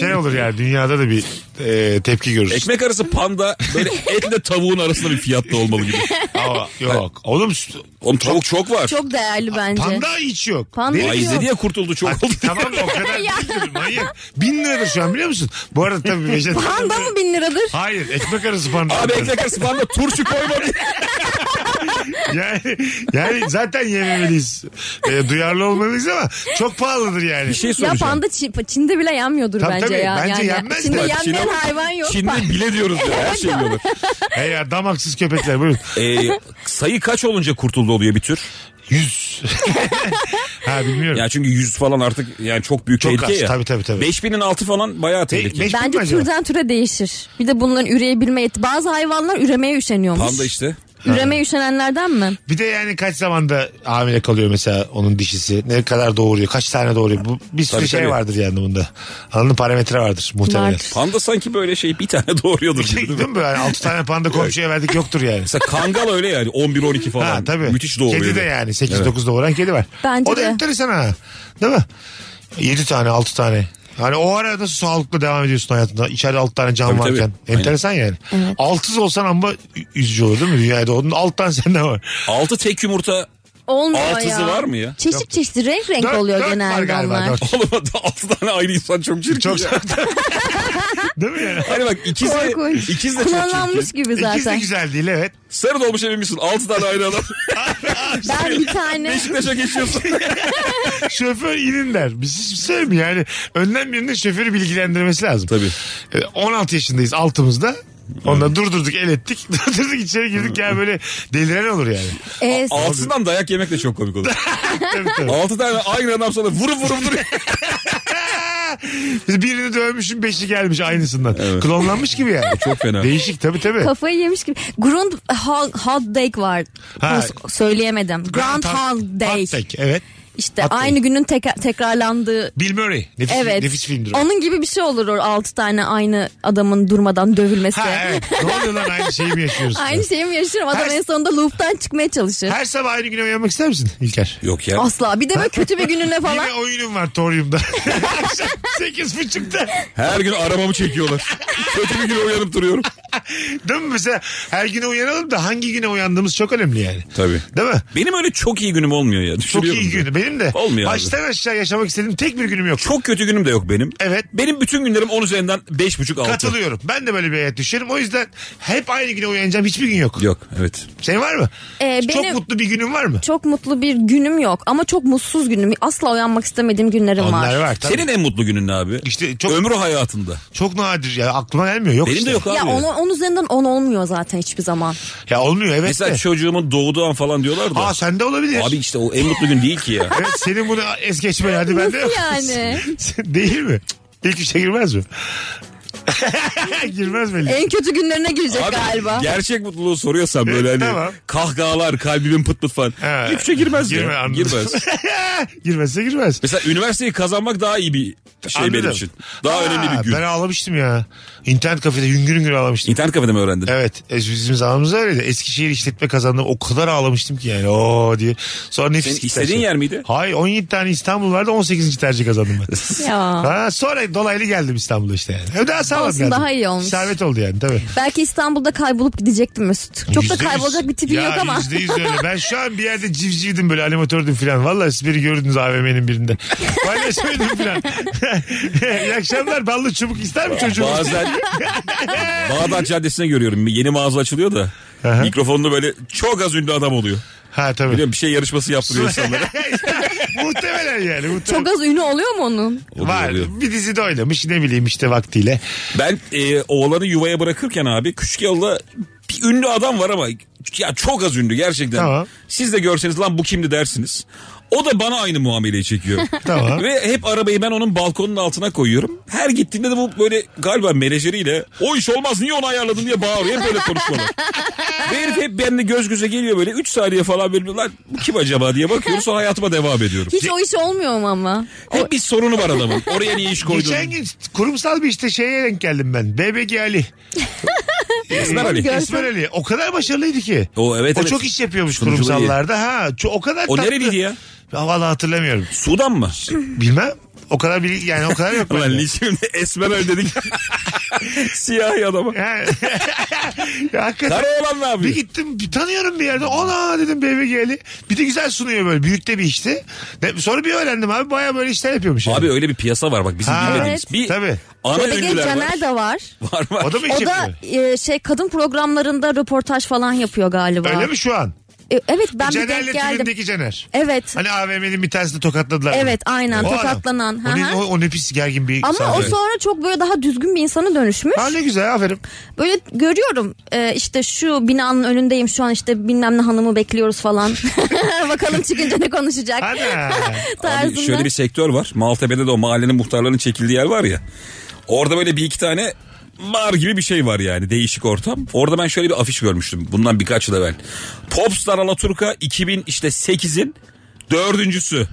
A: Şey olur yani dünyada da bir e, tepki görürsün.
C: şey, Ekmek arası panda böyle etle tavuğun arasında bir fiyatta olmalı gibi.
A: Ama yok. Oğlum
C: Oğlum tavuk çok var.
B: Çok değerli bence.
A: panda hiç yok.
B: Panda
A: Deli-
B: hiç
C: Ay
B: yok.
C: izledi ya kurtuldu
A: Ha,
C: çok oldu.
A: tamam o kadar değildir manyak. Bin liradır şu an biliyor musun? Bu arada tabii Vejet...
B: Panda mı bin liradır?
A: Hayır ekmek arası panda.
C: Abi ekmek arası panda turşu koymadı.
A: Yani, yani zaten yememeliyiz. E, duyarlı olmalıyız ama çok pahalıdır yani.
C: Bir şey
B: Ya
C: soracağım.
B: panda Çin- Çin'de bile yenmiyordur
A: Tabii,
B: bence
A: tabii.
B: ya.
A: Bence
B: yani
A: yenmez
B: Çin'de
A: de.
B: yenmeyen
C: Çin'e-
B: hayvan yok.
C: Çinli bile diyoruz ya her şey diyorlar.
A: He E ya damaksız köpekler buyurun.
C: Ee, sayı kaç olunca kurtuldu oluyor bir tür?
A: Yüz. ha bilmiyorum.
C: Ya çünkü 100 falan artık yani çok büyük
A: Çok
C: tehlike
A: az,
C: ya.
A: tabii, tabii, tabii.
C: 5000'in altı falan bayağı
A: Be-
C: tehlike.
A: beş bin mi
B: Bence
A: acaba?
B: türden türe değişir. Bir de bunların üreyebilme yeti. Bazı hayvanlar üremeye üşeniyormuş.
C: Panda işte.
B: Üremeye üşenenlerden mi?
A: Bir de yani kaç zamanda hamile kalıyor mesela onun dişisi. Ne kadar doğuruyor? Kaç tane doğuruyor? Bu bir sürü
C: Tabii,
A: şey
C: tabii.
A: vardır yani bunda. Anladın parametre vardır muhtemelen.
B: Vardır.
C: Panda sanki böyle şey bir tane doğuruyordur. gibi, değil mi?
A: Değil mi böyle? 6 tane panda komşuya verdik yoktur yani.
C: Mesela kangal öyle yani 11-12 falan.
A: Ha tabii.
C: Müthiş doğuruyor.
A: Kedi de yani 8-9 doğuran kedi var.
B: Bence
A: o da
B: de.
A: enteresan ha. Değil mi? 7 tane 6 tane. Hani o arada sağlıklı devam ediyorsun hayatında. İçeride 6 tane can
C: Tabii,
A: varken.
C: tabii.
A: Enteresan yani. Altsız olsan ama ü- üzücü olur değil mi dünyada? Onun alt tane sende var.
C: Altı tek yumurta
B: Olmuyor
C: altısı
B: ya.
C: var mı ya?
B: Çeşit çeşit renk renk
A: Dört-
B: oluyor
A: dört var
B: genelde
A: galiba,
B: onlar.
A: dört.
C: Oğlum altı tane ayrı insan çok çirkin.
A: Çok
C: ya.
A: Değil mi yani?
C: Hani bak ikiz de,
B: Korkunç.
C: ikiz de çok çirkin.
B: Kullanılmış gibi
A: İkisi de
B: zaten.
A: güzel değil evet.
C: Sarı dolmuş eminmişsin. Altı tane ayrı adam.
B: Ben bir tane
C: Beşiktaş'a geçiyorsun.
A: Şoför inin der. Biz hiç sevmiyoruz yani. Önden birinin şoförü bilgilendirmesi lazım.
C: Tabii.
A: Ee, 16 yaşındayız altımızda. Onda durdurduk el ettik. Durdurduk içeri girdik ya böyle deliren olur yani.
B: e,
C: Altısından dayak yemek de çok komik olur.
A: Tabii, tabii.
C: Altı tane ayrı adam sana vurup vurup duruyor.
A: Biz birini dövmüşüm beşi gelmiş aynısından. Klonlanmış gibi yani.
C: Çok fena.
A: Değişik tabii tabii.
B: kafayı yemiş gibi. Grund Hot Day var.
A: Ha.
B: Nasıl- Söyleyemedim. Grand Hot Day.
A: Hot Evet.
B: İşte
A: Hot Day.
B: aynı günün teka- tekrarlandığı
A: Bill Murray. Nefis,
B: Evet.
A: nefis filmdir o.
B: Onun gibi bir şey olur o 6 tane aynı adamın durmadan dövülmesi.
A: Ha evet. ne oluyor lan aynı şeyi mi yaşıyoruz?
B: Aynı şeyi mi yaşarım? Adam
A: Her-
B: en sonunda loop'tan çıkmaya çalışır.
A: Her sabah aynı güne uyanmak ister misin İlker?
C: Yok ya.
B: Asla. Bir de böyle kötü bir gününe falan.
A: Yine oyunum var Torium'da. Akşam sekiz buçukta.
C: Her gün aramamı çekiyorlar. Kötü bir gün uyanıp duruyorum.
A: Değil mi mesela? Her güne uyanalım da hangi güne uyandığımız çok önemli yani.
C: Tabii.
A: Değil mi?
C: Benim öyle çok iyi günüm olmuyor ya.
A: Çok
C: Düşünüyorum
A: iyi
C: ya.
A: günü. Benim de.
C: Olmuyor abi.
A: Baştan aşağı yaşamak istediğim tek bir günüm yok.
C: Çok kötü günüm de yok benim.
A: Evet.
C: Benim bütün günlerim 10 üzerinden 5,5-6.
A: Katılıyorum. Ben de böyle bir hayat düşerim. O yüzden hep aynı güne uyanacağım. Hiçbir gün yok.
C: Yok evet.
A: Senin var mı?
B: Ee,
A: Çok
B: benim-
A: mutlu bir günün var mı?
B: Çok mutlu bir günüm yok ama çok mutsuz günüm. Asla uyanmak istemediğim günlerim
A: Onlar var. tabii.
C: Senin en mutlu günün ne abi?
A: İşte çok-
C: Ömrü hayatında.
A: Çok nadir ya. Aklıma gelmiyor. Yok
C: Benim
A: işte.
C: de yok abi.
B: Ya onun, onun üzerinden 10 olmuyor zaten hiçbir zaman.
A: Ya olmuyor evet
C: Mesela
A: de.
C: çocuğumun doğduğu an falan diyorlar da.
A: Aa sende olabilir.
C: Abi işte o en mutlu gün değil ki ya.
A: Evet senin bunu es geçme hadi bende yok.
B: Nasıl yani?
A: Değil mi? İlk üçe girmez mi? girmez belli.
B: en kötü günlerine girecek
C: Abi,
B: galiba.
C: Gerçek mutluluğu soruyorsan böyle
A: E,
C: hani
A: tamam.
C: kahkahalar kalbimin pıt pıt falan.
A: Ha.
C: Hiçbir şey girmez
A: Girme,
C: ya.
A: anladım.
C: Girmez.
A: Girmezse girmez.
C: Mesela üniversiteyi kazanmak daha iyi bir şey benim
A: Anladım.
C: için. Daha
A: Aa,
C: önemli bir gün.
A: Ben ağlamıştım ya. İnternet kafede hüngür hüngür ağlamıştım.
C: İnternet kafede mi öğrendin?
A: Evet e, bizim zamanımızda öyleydi. Eskişehir işletme kazandım. O kadar ağlamıştım ki yani. Oo diye. Sonra nefis
C: Senin
A: gitti
C: istediğin
A: her şey.
C: yer miydi?
A: Hayır 17 tane İstanbul vardı 18. tercih kazandım ben.
B: Ya.
A: Ha, sonra dolaylı geldim İstanbul'a işte yani. Hem Daha sağlam
B: Olsun,
A: geldim.
B: daha iyi olmuş.
A: Servet oldu yani tabii.
B: Belki İstanbul'da kaybolup gidecektim Mesut. Çok da
A: Yüzde yüz.
B: kaybolacak bir tipim
A: ya,
B: yok ama.
A: Yüzde yüz öyle. Ben şu an bir yerde civcivdim böyle animatördüm falan. Vallahi siz beni gördünüz AVM'nin birinde. Paylaşmaydım falan. İyi akşamlar ballı çubuk ister mi çocuğunuz?
C: Bazen Bağdat Caddesi'ne görüyorum. Yeni mağaza açılıyor da.
A: Aha.
C: Mikrofonlu böyle çok az ünlü adam oluyor.
A: Ha tabii.
C: Biliyorum bir şey yarışması yaptırıyor insanlara.
A: muhtemelen yani. Muhtemelen.
B: Çok az ünlü oluyor mu onun?
C: Oluyor,
A: Var.
C: oluyor.
A: Bir dizide oynamış ne bileyim işte vaktiyle.
C: Ben e, oğlanı yuvaya bırakırken abi küçük yolda bir ünlü adam var ama ya çok az ünlü gerçekten.
A: Tamam.
C: Siz de görseniz lan bu kimdi dersiniz. O da bana aynı muameleyi çekiyor.
A: Tamam.
C: Ve hep arabayı ben onun balkonun altına koyuyorum. Her gittiğinde de bu böyle galiba menajeriyle o iş olmaz niye onu ayarladın diye bağırıyor. Hep böyle konuşmalar. Ve herif hep benimle göz göze geliyor böyle 3 saniye falan böyle lan bu kim acaba diye bakıyorum sonra hayatıma devam ediyorum.
B: Hiç o iş olmuyor mu ama?
C: Hep bir sorunu var adamın. Oraya niye iş koydun?
A: Geçen gün kurumsal bir işte şeye denk geldim ben. BBG Ali.
C: Esmer Ali.
B: Görsel-
A: İsmail Ali. O kadar başarılıydı ki.
C: O evet
A: O
C: evet.
A: çok iş yapıyormuş
C: Sunuculuğu iyi.
A: kurumsallarda. Ha, ço- o kadar
C: O
A: tatlı.
C: nereliydi ya?
A: Ya Vallahi hatırlamıyorum.
C: Sudan mı?
A: Bilmem. O kadar bil yani o kadar yok.
C: Ulan
A: bende.
C: şimdi esmer öyle dedik. Siyahi adama.
A: Ha. ya hakikaten.
C: Kara olan ne
A: Bir
C: yapıyor?
A: gittim bir tanıyorum bir yerde. Ona dedim BBG'li. Bir de güzel sunuyor böyle. Büyükte bir işti. Ne- Sonra bir öğrendim abi. Baya böyle işler yapıyormuş. yani.
C: Abi öyle bir piyasa var bak bizim
A: Ha,
C: bilmediğimiz.
B: evet.
C: Bir
A: Tabii.
C: ana
B: Bebek
C: ünlüler var.
B: Caner de var.
C: Var var.
A: O da mı iş
B: O da
A: yapıyor?
B: e, şey kadın programlarında röportaj falan yapıyor galiba.
A: Öyle mi şu an?
B: E, evet ben bir
A: Caner'le
B: denk geldim.
A: filmdeki Caner.
B: Evet.
A: Hani AVM'nin bir tanesini tokatladılar.
B: Evet aynen
A: O adam.
B: tokatlanan. Hı
A: O ne,
B: hı.
A: o, o ne pis gergin bir
B: Ama o
A: sahne.
B: sonra çok böyle daha düzgün bir insana dönüşmüş.
A: Ha ne güzel aferin.
B: Böyle görüyorum e, işte şu binanın önündeyim şu an işte bilmem ne hanımı bekliyoruz falan. Bakalım çıkınca ne konuşacak
A: Ana.
C: Abi
B: tarzında.
C: şöyle bir sektör var. Maltepe'de de o mahallenin muhtarlarının çekildiği yer var ya. Orada böyle bir iki tane bar gibi bir şey var yani değişik ortam. Orada ben şöyle bir afiş görmüştüm bundan birkaç yıl evvel. Popstar Alaturka 2000 işte 8'in dördüncüsü.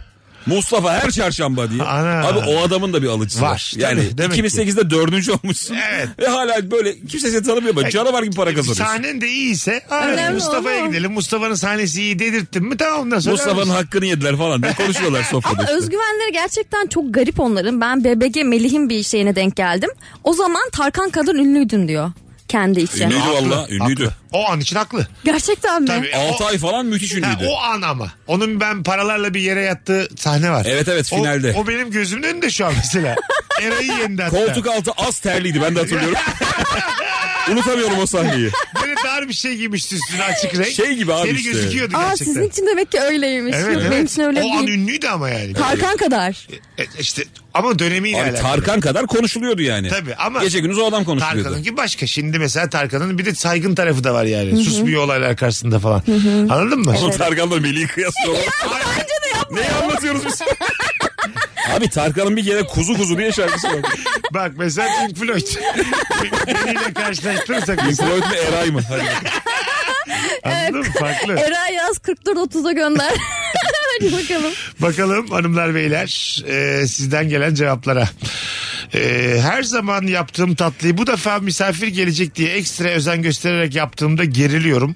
C: Mustafa her çarşamba diye.
A: Ana.
C: Abi o adamın da bir alıcısı var.
A: Var,
C: Yani
A: tabii, demek ki.
C: 2008'de dördüncü olmuşsun.
A: Evet.
C: Ve hala böyle kimse seni tanımıyor ama canavar gibi para kazanıyorsun.
A: E, Sahnen de iyiyse "Aa,
B: Önemli
A: Mustafa'ya
B: olan o.
A: gidelim. Mustafa'nın sahnesi iyi dedirttin mi tamam ondan sonra.
C: Mustafa'nın hakkını yediler falan. Ne konuşuyorlar sofrada
B: Ama
C: işte.
B: özgüvenleri gerçekten çok garip onların. Ben BBG Melih'in bir şeyine denk geldim. O zaman Tarkan kadar ünlüydün diyor kendi için.
C: Ünlüydü valla. Ünlüydü.
A: Haklı. O an için haklı.
B: Gerçekten mi?
A: Tabii.
C: 6 ay falan müthiş
A: Ha,
C: ünlüydü.
A: o an ama. Onun ben paralarla bir yere yattığı sahne var.
C: Evet, evet,
A: O-
C: finalde.
A: O, benim gözümün önünde şu an mesela. Eray'ı yendi hatta.
C: Koltuk altı az terliydi ben de hatırlıyorum. Unutamıyorum o sahneyi.
A: Böyle dar bir şey giymişti üstüne açık renk.
C: Şey gibi abi
A: Seni
C: işte.
A: gözüküyordu
B: Aa
A: gerçekten.
B: sizin için demek ki öyleymiş.
A: Evet,
B: Yok,
A: evet.
B: Benim için öyle
A: o an
B: değil.
A: ünlüydü ama yani.
B: Tarkan kadar.
A: E, işte ama dönemiyle
C: Abi
A: alakalı.
C: Tarkan kadar konuşuluyordu yani.
A: Tabii ama-
C: Gece gündüz o adam konuşuluyordu.
A: Tarkan'ın ki başka. Şimdi mesela Tarkan'ın bir de saygın tarafı da var yani. Susmuyor olaylar karşısında falan. Anladın mı?
C: Ama Tarkan'la Melih'i kıyaslıyorlar. Neyi anlatıyoruz biz? Abi Tarkan'ın bir kere kuzu kuzu diye şarkısı var.
A: Bak mesela Pink Floyd. Beniyle karşılaştırırsak
C: Pink
A: mesela.
C: Floyd mu Eray mı? Hadi.
A: Anladın mı? Farklı.
B: Eray yaz 44.30'a gönder. Hadi bakalım.
A: Bakalım hanımlar beyler e, sizden gelen cevaplara. E, her zaman yaptığım tatlıyı bu defa misafir gelecek diye ekstra özen göstererek yaptığımda geriliyorum.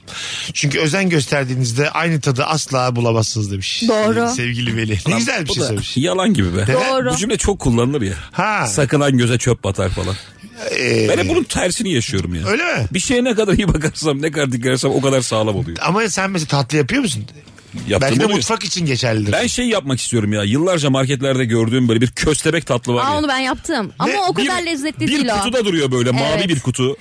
A: Çünkü özen gösterdiğinizde aynı tadı asla bulamazsınız demiş.
B: Doğru.
A: Sevgili Veli. Ne güzel bir
C: Bu
A: şey
C: da
A: söylemiş.
C: Yalan gibi be.
B: Doğru.
C: Bu cümle çok kullanılır ya.
A: Ha.
C: Sakınan göze çöp batar falan.
A: E,
C: Ben hep bunun tersini yaşıyorum ya.
A: Öyle mi?
C: Bir şeye ne kadar iyi bakarsam ne kadar dikkat edersem o kadar sağlam oluyor.
A: Ama sen mesela tatlı yapıyor musun?
C: Yaptığım
A: Belki de
C: oluyor.
A: mutfak için geçerlidir.
C: Ben şey yapmak istiyorum ya. Yıllarca marketlerde gördüğüm böyle bir köstebek tatlı var
B: Aa
C: ya.
B: onu ben yaptım. Ama o kadar
C: bir,
B: lezzetli
C: bir
B: değil o.
C: kutuda duruyor böyle mavi
B: Evet.
C: bir kutu.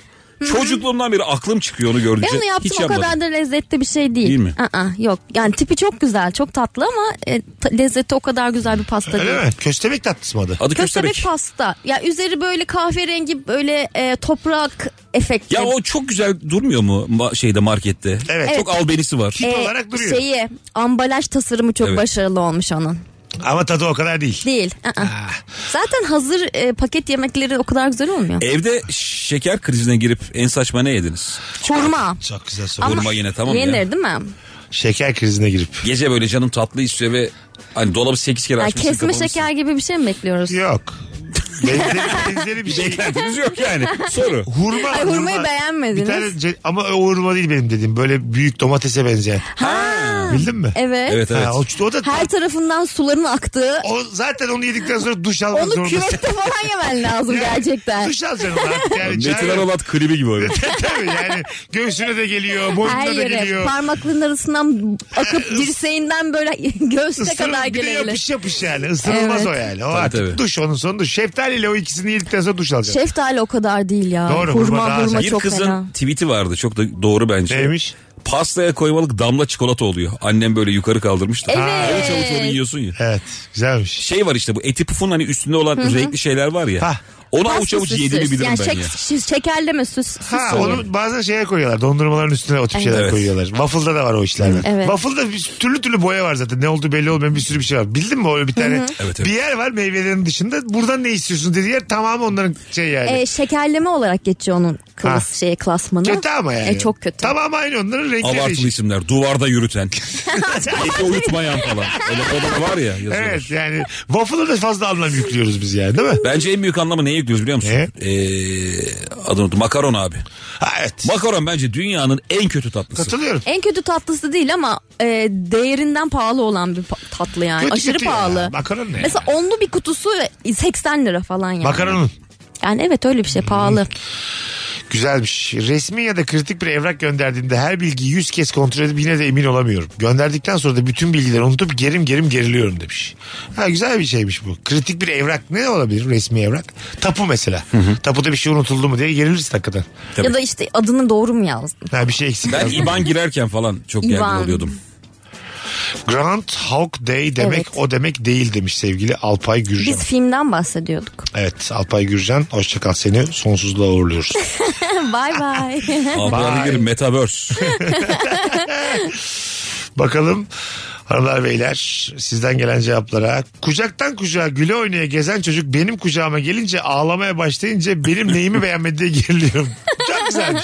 C: Çocukluğumdan beri aklım çıkıyor onu
B: Ben
C: gördükçe.
B: E, onu yaptım
C: Hiç
B: o
C: yapmadım.
B: kadar da lezzetli bir şey değil.
C: Değil mi?
B: Aa, yok yani tipi çok güzel çok tatlı ama e, ta- lezzeti o kadar güzel bir pasta değil.
A: Öyle mi? Köstebek tatlısı mı adı?
C: Adı
B: Köstebek,
C: köstebek.
B: pasta. Ya üzeri böyle kahverengi böyle e, toprak efekti. E,
C: Ya o çok güzel durmuyor mu ma- şeyde markette?
A: Evet.
C: Çok albenisi var.
A: Tip olarak duruyor.
B: Şeyi ambalaj tasarımı çok
C: Evet.
B: başarılı olmuş onun.
A: Ama tadı o kadar değil.
B: Değil. aa.
A: Ah.
B: Zaten hazır e, paket yemekleri o kadar güzel olmuyor.
C: Evde şeker krizine girip en saçma ne yediniz?
B: Çorma.
A: Çok güzel soru.
B: Ama
C: Çorba E, ah, yine tamam ya.
B: yenir değil mi?
A: Şeker krizine girip.
C: Gece böyle canım tatlı istiyor ve hani dolabı 8 kere
B: Yani
C: açmışsın
B: kesme
C: kapamışsın.
B: şeker gibi bir şey mi bekliyoruz?
A: Yok. Benzeri, benzeri bir şey.
C: Beklentiniz yok yani. Soru.
A: Hurma.
B: Ay, hurmayı
A: hurma.
B: beğenmediniz.
A: Bir tane ce- ama o hurma değil benim dediğim. Böyle büyük domatese benzeyen.
B: Ha.
A: Bildin mi?
B: Evet.
C: Evet evet.
A: Ha, o, o da
B: Her tarafından suların aktığı.
A: o zaten onu yedikten sonra duş almak
B: Onu
A: zorundasın.
B: küvette falan yemen lazım
A: Yani
B: gerçekten.
A: Duş alacaksın artık. Yani
C: Metin
A: çare-
C: Aralat klibi gibi öyle.
A: Tabii yani göğsüne de geliyor, boynuna
B: Her
A: da
B: yere
A: geliyor.
B: parmakların arasından akıp dirseğinden böyle göğsüne
A: Isırıl-
B: kadar
A: bir de
B: gelebilir.
A: yapış yapış yani. Isırılmaz
B: Evet.
A: o yani. O
C: Tabii,
A: artık
C: tabii.
A: duş onun sonu duş. Şeftaliyle o ikisini yedikten sonra duş alacaksın.
B: Şeftali o kadar değil ya.
A: Doğru, hurma
B: hurma
A: daha
B: hurma
C: Bir
B: çok
C: kızın
B: fena.
C: tweet'i vardı çok da doğru bence.
A: Neymiş?
C: Pastaya koymalık damla çikolata oluyor. Annem böyle yukarı kaldırmış da.
B: Evet.
C: Avuç avuç onu yiyorsun ya.
A: Evet güzelmiş.
C: Şey var işte bu eti pufun hani üstünde olan renkli şeyler var ya.
A: Hah.
C: Onu
B: Pasta
C: avuç avuç
B: süsü.
C: yediğimi bilirim
B: yani
C: ben
B: şek-
C: ya.
B: şi- şekerleme süs, süs
A: Ha,
B: oluyor.
A: onu bazen şeye koyuyorlar. Dondurmaların üstüne o tip
B: Evet.
A: şeyler
C: Evet.
A: koyuyorlar. Waffle'da da var o işlerden.
B: Evet.
A: Waffle'da bir türlü türlü boya var zaten. Ne olduğu belli olmayan bir sürü bir şey var. Bildin mi öyle bir tane?
C: evet.
A: Bir yer var meyvelerin dışında. Buradan ne istiyorsun dediği yer tamamı onların şey yani.
B: E, şekerleme olarak geçiyor onun klas,
A: Ha.
B: şey klasmanı.
A: kötü ama yani.
B: E, çok kötü.
A: Tamam aynı onların renkleri
C: Abartılı
A: değişik.
C: isimler. Duvarda yürüten. Eti uyutmayan falan. Öyle konular var ya yazıyorlar.
A: Evet yani waffle'a da fazla anlam yüklüyoruz biz yani değil mi?
C: Bence en büyük anlamı neye yüklüyoruz biliyor musun?
A: Ne?
C: Ee, adını unuttum. Makaron abi.
A: Ha, evet.
C: Makaron bence dünyanın en kötü tatlısı.
A: Katılıyorum.
B: En kötü tatlısı değil ama e, değerinden pahalı olan bir pa- tatlı yani.
A: Kötü
B: Aşırı
A: kötü ya.
B: pahalı.
A: Makaron ne ya?
B: Mesela onlu bir kutusu 80 lira falan yani.
A: Makaronun.
B: Yani evet öyle bir şey pahalı.
A: Güzelmiş. Resmi ya da kritik bir evrak gönderdiğimde her bilgiyi 100 kez kontrol edip yine de emin olamıyorum. Gönderdikten sonra da bütün bilgileri unutup gerim gerim geriliyorum demiş. Ha güzel bir şeymiş bu. Kritik bir evrak ne olabilir resmi evrak? Tapu mesela. Tapuda bir şey unutuldu mu diye gerilirsin hakikaten.
C: Tabii.
B: Ya da işte adını doğru mu yazdın?
A: Ha bir şey eksik.
C: Ben
A: Ben...
C: İban girerken falan çok gergin
B: İban.
C: oluyordum.
A: Grand Hawk Day demek
B: Evet.
A: o demek değil demiş sevgili Alpay Gürcan.
B: Biz filmden bahsediyorduk.
A: Evet Alpay Gürcan hoşçakal seni sonsuzluğa uğurluyoruz.
B: Bay bay.
C: Abla bir metaverse.
A: Bakalım hanımlar beyler sizden gelen cevaplara. Kucaktan kucağa güle oynaya gezen çocuk benim kucağıma gelince ağlamaya başlayınca benim neyimi beğenmedi diye geriliyorum. Çok güzelmiş.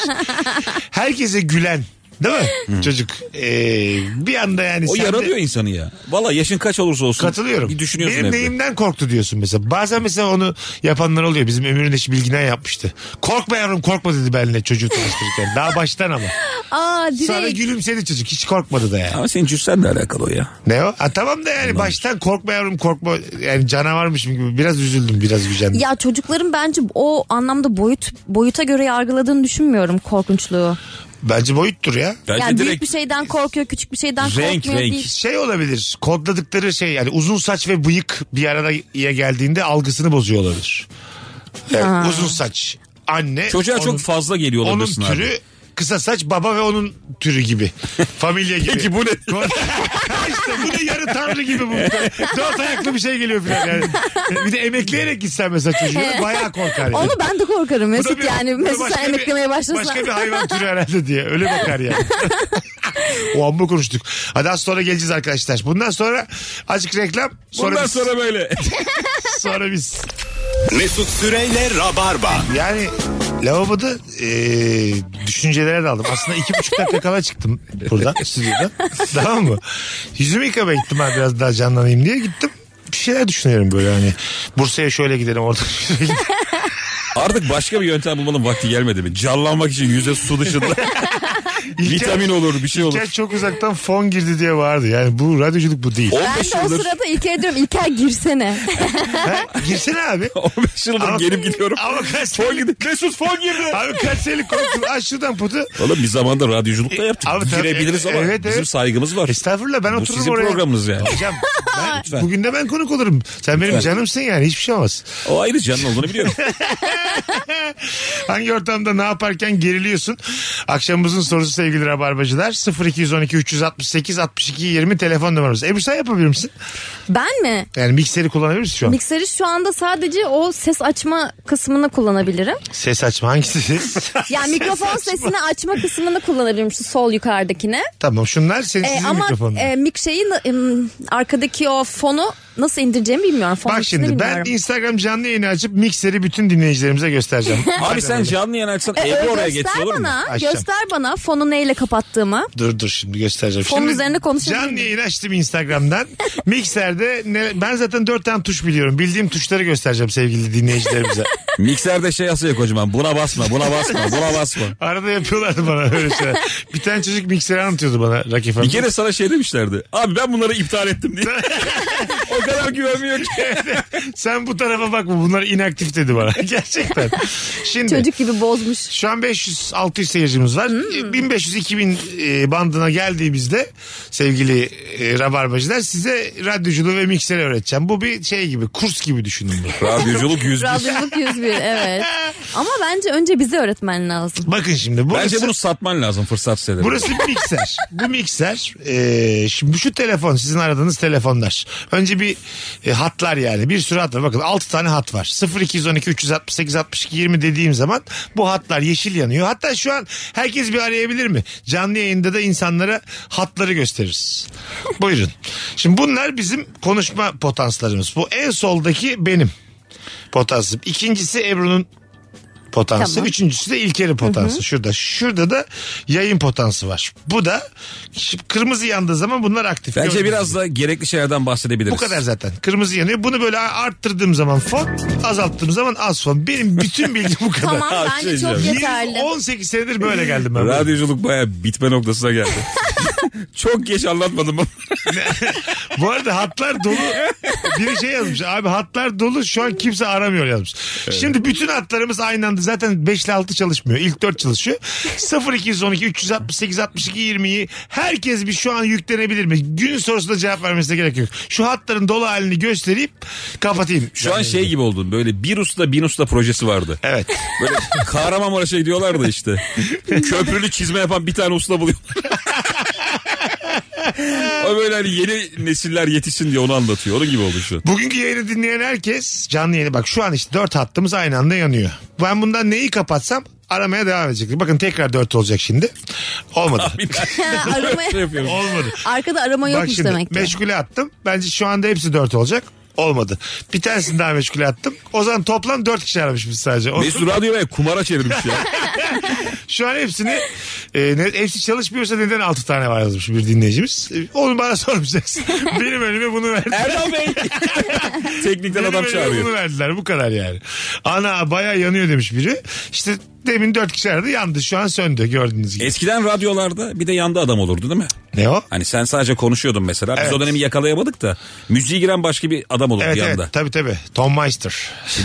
A: Herkese gülen Değil mi? Çocuk ee, bir anda yani
C: O
A: sen de-
C: yaralıyor insanı ya. Valla yaşın kaç olursa olsun.
A: Katılıyorum.
C: Bir düşünüyorsun
A: Benim
C: hep de.
A: neyimden korktu diyorsun mesela. Bazen mesela onu yapanlar oluyor. Bizim Ömür'ün eşi bilginen yapmıştı. Korkma yavrum korkma dedi benimle çocuğu tanıştırırken. Daha baştan ama.
B: Aa
A: Sonra
B: direkt.
A: gülümsedi çocuk. Hiç korkmadı da yani.
C: Ama senin cüssenle alakalı o ya.
A: Ne o? Ha, tamam da yani baştan korkma yavrum korkma. Yani canavarmışım gibi. Biraz üzüldüm biraz gücendim.
B: Ya çocukların bence o anlamda boyut boyuta göre yargıladığını düşünmüyorum korkunçluğu.
A: Bence boyuttur ya.
C: Bence
B: yani büyük
C: direkt
B: bir şeyden korkuyor, küçük bir şeyden
C: Renk,
B: korkmuyor
C: renk.
B: değil.
A: Şey olabilir. Kodladıkları şey yani uzun saç ve bıyık bir araya geldiğinde algısını bozuyor olabilir. Yani uzun saç. Anne.
C: çocuğa
A: onun-
C: çok fazla geliyor
A: onun
C: olabilirsin abi.
A: türü kısa saç baba ve onun türü gibi. Familya gibi.
C: Peki bu ne?
A: işte bu ne yarı tanrı gibi bu. Dört ayaklı bir şey geliyor falan yani. Bir de emekleyerek gitsen mesela çocuğuna bayağı korkar. yani.
B: Onu ben de korkarım
A: Bu da
B: Mesut
A: bir-
B: yani.
A: bu da
B: Mesut
A: başka
B: sen
A: bir-
B: emeklemeye başlasan.
A: Başka bir hayvan türü herhalde diye. Öyle bakar yani. o an bu konuştuk. Hadi az sonra geleceğiz arkadaşlar. Bundan sonra azıcık reklam. Sonra
C: Bundan
A: biz.
C: sonra böyle.
A: Sonra biz.
G: Mesut Süreyle Rabarba.
A: Yani lavaboda eee düşüncelere daldım. Aslında iki buçuk dakika kala çıktım buradan stüdyodan. tamam mı? Yüzümü yıkamaya gittim ben biraz daha canlanayım diye gittim. Bir şeyler düşünüyorum böyle hani. Bursa'ya şöyle gidelim orada. şöyle gidelim.
C: Artık başka bir yöntem bulmanın vakti gelmedi mi? Canlanmak için yüzde su dışında vitamin olur bir şey olur.
A: İlker çok uzaktan fon girdi diye vardı. Yani bu radyoculuk bu değil.
B: Ben
C: 15
B: de o
C: yıldır,
B: sırada İlker diyorum İlker girsene.
A: Ha, girsene abi.
C: 15 yıldır
A: Ama-
C: gelip gidiyorum.
A: Ama kaç
C: Fon
A: senelik,
C: gidi. Mesut fon girdi.
A: abi kaç senelik korktun. Aç şuradan putu.
C: Oğlum bir zamanda radyoculuk da yaptık.
A: E, Abi tabii,
C: Girebiliriz ama
A: evet,
C: bizim
A: evet.
C: saygımız var.
A: Estağfurullah ben
C: Bu
A: otururum
C: sizin
A: oraya.
C: programınız yani.
A: Hocam ben-
C: Lütfen.
A: bugün de ben konuk olurum. Sen benim
C: Lütfen.
A: canımsın yani hiçbir şey olmaz.
C: O ayrı canın olduğunu biliyorum.
A: Hangi ortamda ne yaparken geriliyorsun? Akşamımızın sorusu sevgili rabarbacılar. 0212 368 62 20 telefon numaramız. Ebru sen yapabilir misin?
B: Ben mi?
A: Yani mikseri kullanabilir misin şu an?
B: Mikseri şu anda sadece o ses açma kısmını kullanabilirim.
A: Ses açma hangisi?
B: Yani mikrofon sesini açma kısmını kullanabilirim şu sol yukarıdakine.
A: tamam şunlar senin
B: E,
A: sizin
B: ama
A: mikrofonun.
B: e, mik şeyi na- em, arkadaki o fonu nasıl indireceğimi bilmiyorum. Fon
A: Bak
B: içini
A: şimdi ben
B: bilmiyorum.
A: Instagram canlı yayını açıp mikseri bütün dinleyicilerimize göstereceğim.
C: Abi sen canlı yayın açsan Ebru oraya geçse
B: E, göster
C: olur mu?
B: bana,
A: Açacağım.
B: göster bana fonu neyle kapattığımı.
A: Dur dur şimdi göstereceğim.
B: Fonun
A: şimdi
B: üzerine konuşabilir
A: Canlı
B: miyim?
A: yayın açtım Instagram'dan. Mikserde ne, ben zaten dört tane tuş biliyorum. Bildiğim tuşları göstereceğim sevgili dinleyicilerimize.
C: Mikserde şey yazıyor kocaman. Buna basma, buna basma, buna basma.
A: Arada yapıyorlardı bana öyle şeyler. Bir tane çocuk mikseri anlatıyordu bana Rakip Hanım.
C: Bir kere sana şey demişlerdi. Abi ben bunları iptal ettim diye. o kadar güvenmiyor ki.
A: Sen bu tarafa bakma bunlar inaktif dedi bana. Gerçekten. Şimdi
B: Çocuk gibi bozmuş.
A: Şu an 500-600 seyircimiz var.
B: Hmm.
A: 1500-2000 e, bandına geldiğimizde sevgili e, rabarbacılar size radyoculuğu ve mikseri öğreteceğim. Bu bir şey gibi kurs gibi düşünün bunu.
C: Radyoculuk yüz bir.
B: Radyoluk 101 evet. Ama bence önce bize öğretmen lazım.
A: Bakın şimdi burası,
C: Bence bunu satman lazım fırsat siteleri.
A: burası bir mikser. Bu mikser e, şimdi şu telefon sizin aradığınız telefonlar. Önce bir e, hatlar yani bir sürü hat var. Bakın 6 tane hat var. 0212 368 62 20 dediğim zaman bu hatlar yeşil yanıyor. Hatta şu an herkes bir arayabilir mi? Canlı yayında da insanlara hatları gösteririz. Buyurun. Şimdi bunlar bizim konuşma potanslarımız. Bu en soldaki benim potansım. İkincisi Ebru'nun potansı.
B: Tamam.
A: Üçüncüsü de İlker'in potansı. Şurada. Şurada da yayın potansı var. Bu da şimdi kırmızı yandığı zaman bunlar aktif.
C: Bence
A: Gördüğünüz
C: biraz
A: gibi.
C: da gerekli şeylerden bahsedebiliriz.
A: bu kadar zaten. Kırmızı yanıyor. Bunu böyle arttırdığım zaman fon, azalttığım zaman az fon. Benim bütün bilgim bu kadar.
B: Tamam
C: Ha,
B: bence
C: şey
B: çok
C: diyeceğim.
B: yeterli.
A: 18 senedir
C: Ee,
A: böyle geldim ben.
C: Radyoculuk baya bitme noktasına geldi. Çok geç anlatmadım ama.
A: Bu arada hatlar dolu. Biri şey yazmış. Abi hatlar dolu şu an kimse aramıyor yazmış. Şimdi bütün hatlarımız aynı anda zaten 5 ile 6 çalışmıyor. İlk 4 çalışıyor. 0212 368 62 20'yi herkes bir şu an yüklenebilir mi? Günün sorusuna cevap vermesine gerek yok. Şu hatların dolu halini gösterip kapatayım.
C: Şu an şey gibi oldun böyle bir usta bin usta projesi vardı.
A: Evet.
C: Böyle Kahramanmaraş'a gidiyorlar da işte. Köprülü çizme yapan bir tane usta buluyorlar. o böyle hani yeni nesiller yetişsin diye onu anlatıyor. Onun gibi oldu şu.
A: Bugünkü yayını dinleyen herkes canlı yayını bak şu an işte dört hattımız aynı anda yanıyor. Ben bundan neyi kapatsam aramaya devam edecek. Bakın tekrar dört olacak şimdi. Olmadı.
B: Ha, aramaya-
C: Şey yapıyorum.
A: Olmadı.
B: arkada arama
A: Bak
B: yokmuş
A: şimdi
B: demek ki.
A: meşgule attım. Bence şu anda hepsi 4 olacak. Olmadı. Bir tanesini daha meşgule attım. O zaman toplam 4 kişi aramışız sadece. O-
C: Mesut radyoya kumara çevirmiş ya.
A: şu an hepsini E, ne, hepsi çalışmıyorsa neden 6 tane var yazmış bir dinleyicimiz. E, onu bana sormayacaksın. Benim önüme bunu verdi.
C: Erdal Bey. Teknikten
A: Benim
C: adam
A: önüme
C: çağırıyor.
A: Bunu verdiler bu kadar yani. Ana baya yanıyor demiş biri. İşte demin dört kişi aradı yandı şu an söndü gördüğünüz gibi.
C: Eskiden radyolarda bir de yanda adam olurdu değil mi?
A: ne o?
C: Hani sen sadece konuşuyordun mesela. Biz
A: Evet.
C: o dönemi yakalayamadık da müziği giren başka bir adam olurdu
A: Evet
C: yanda.
A: evet tabii tabii. Tom Meister.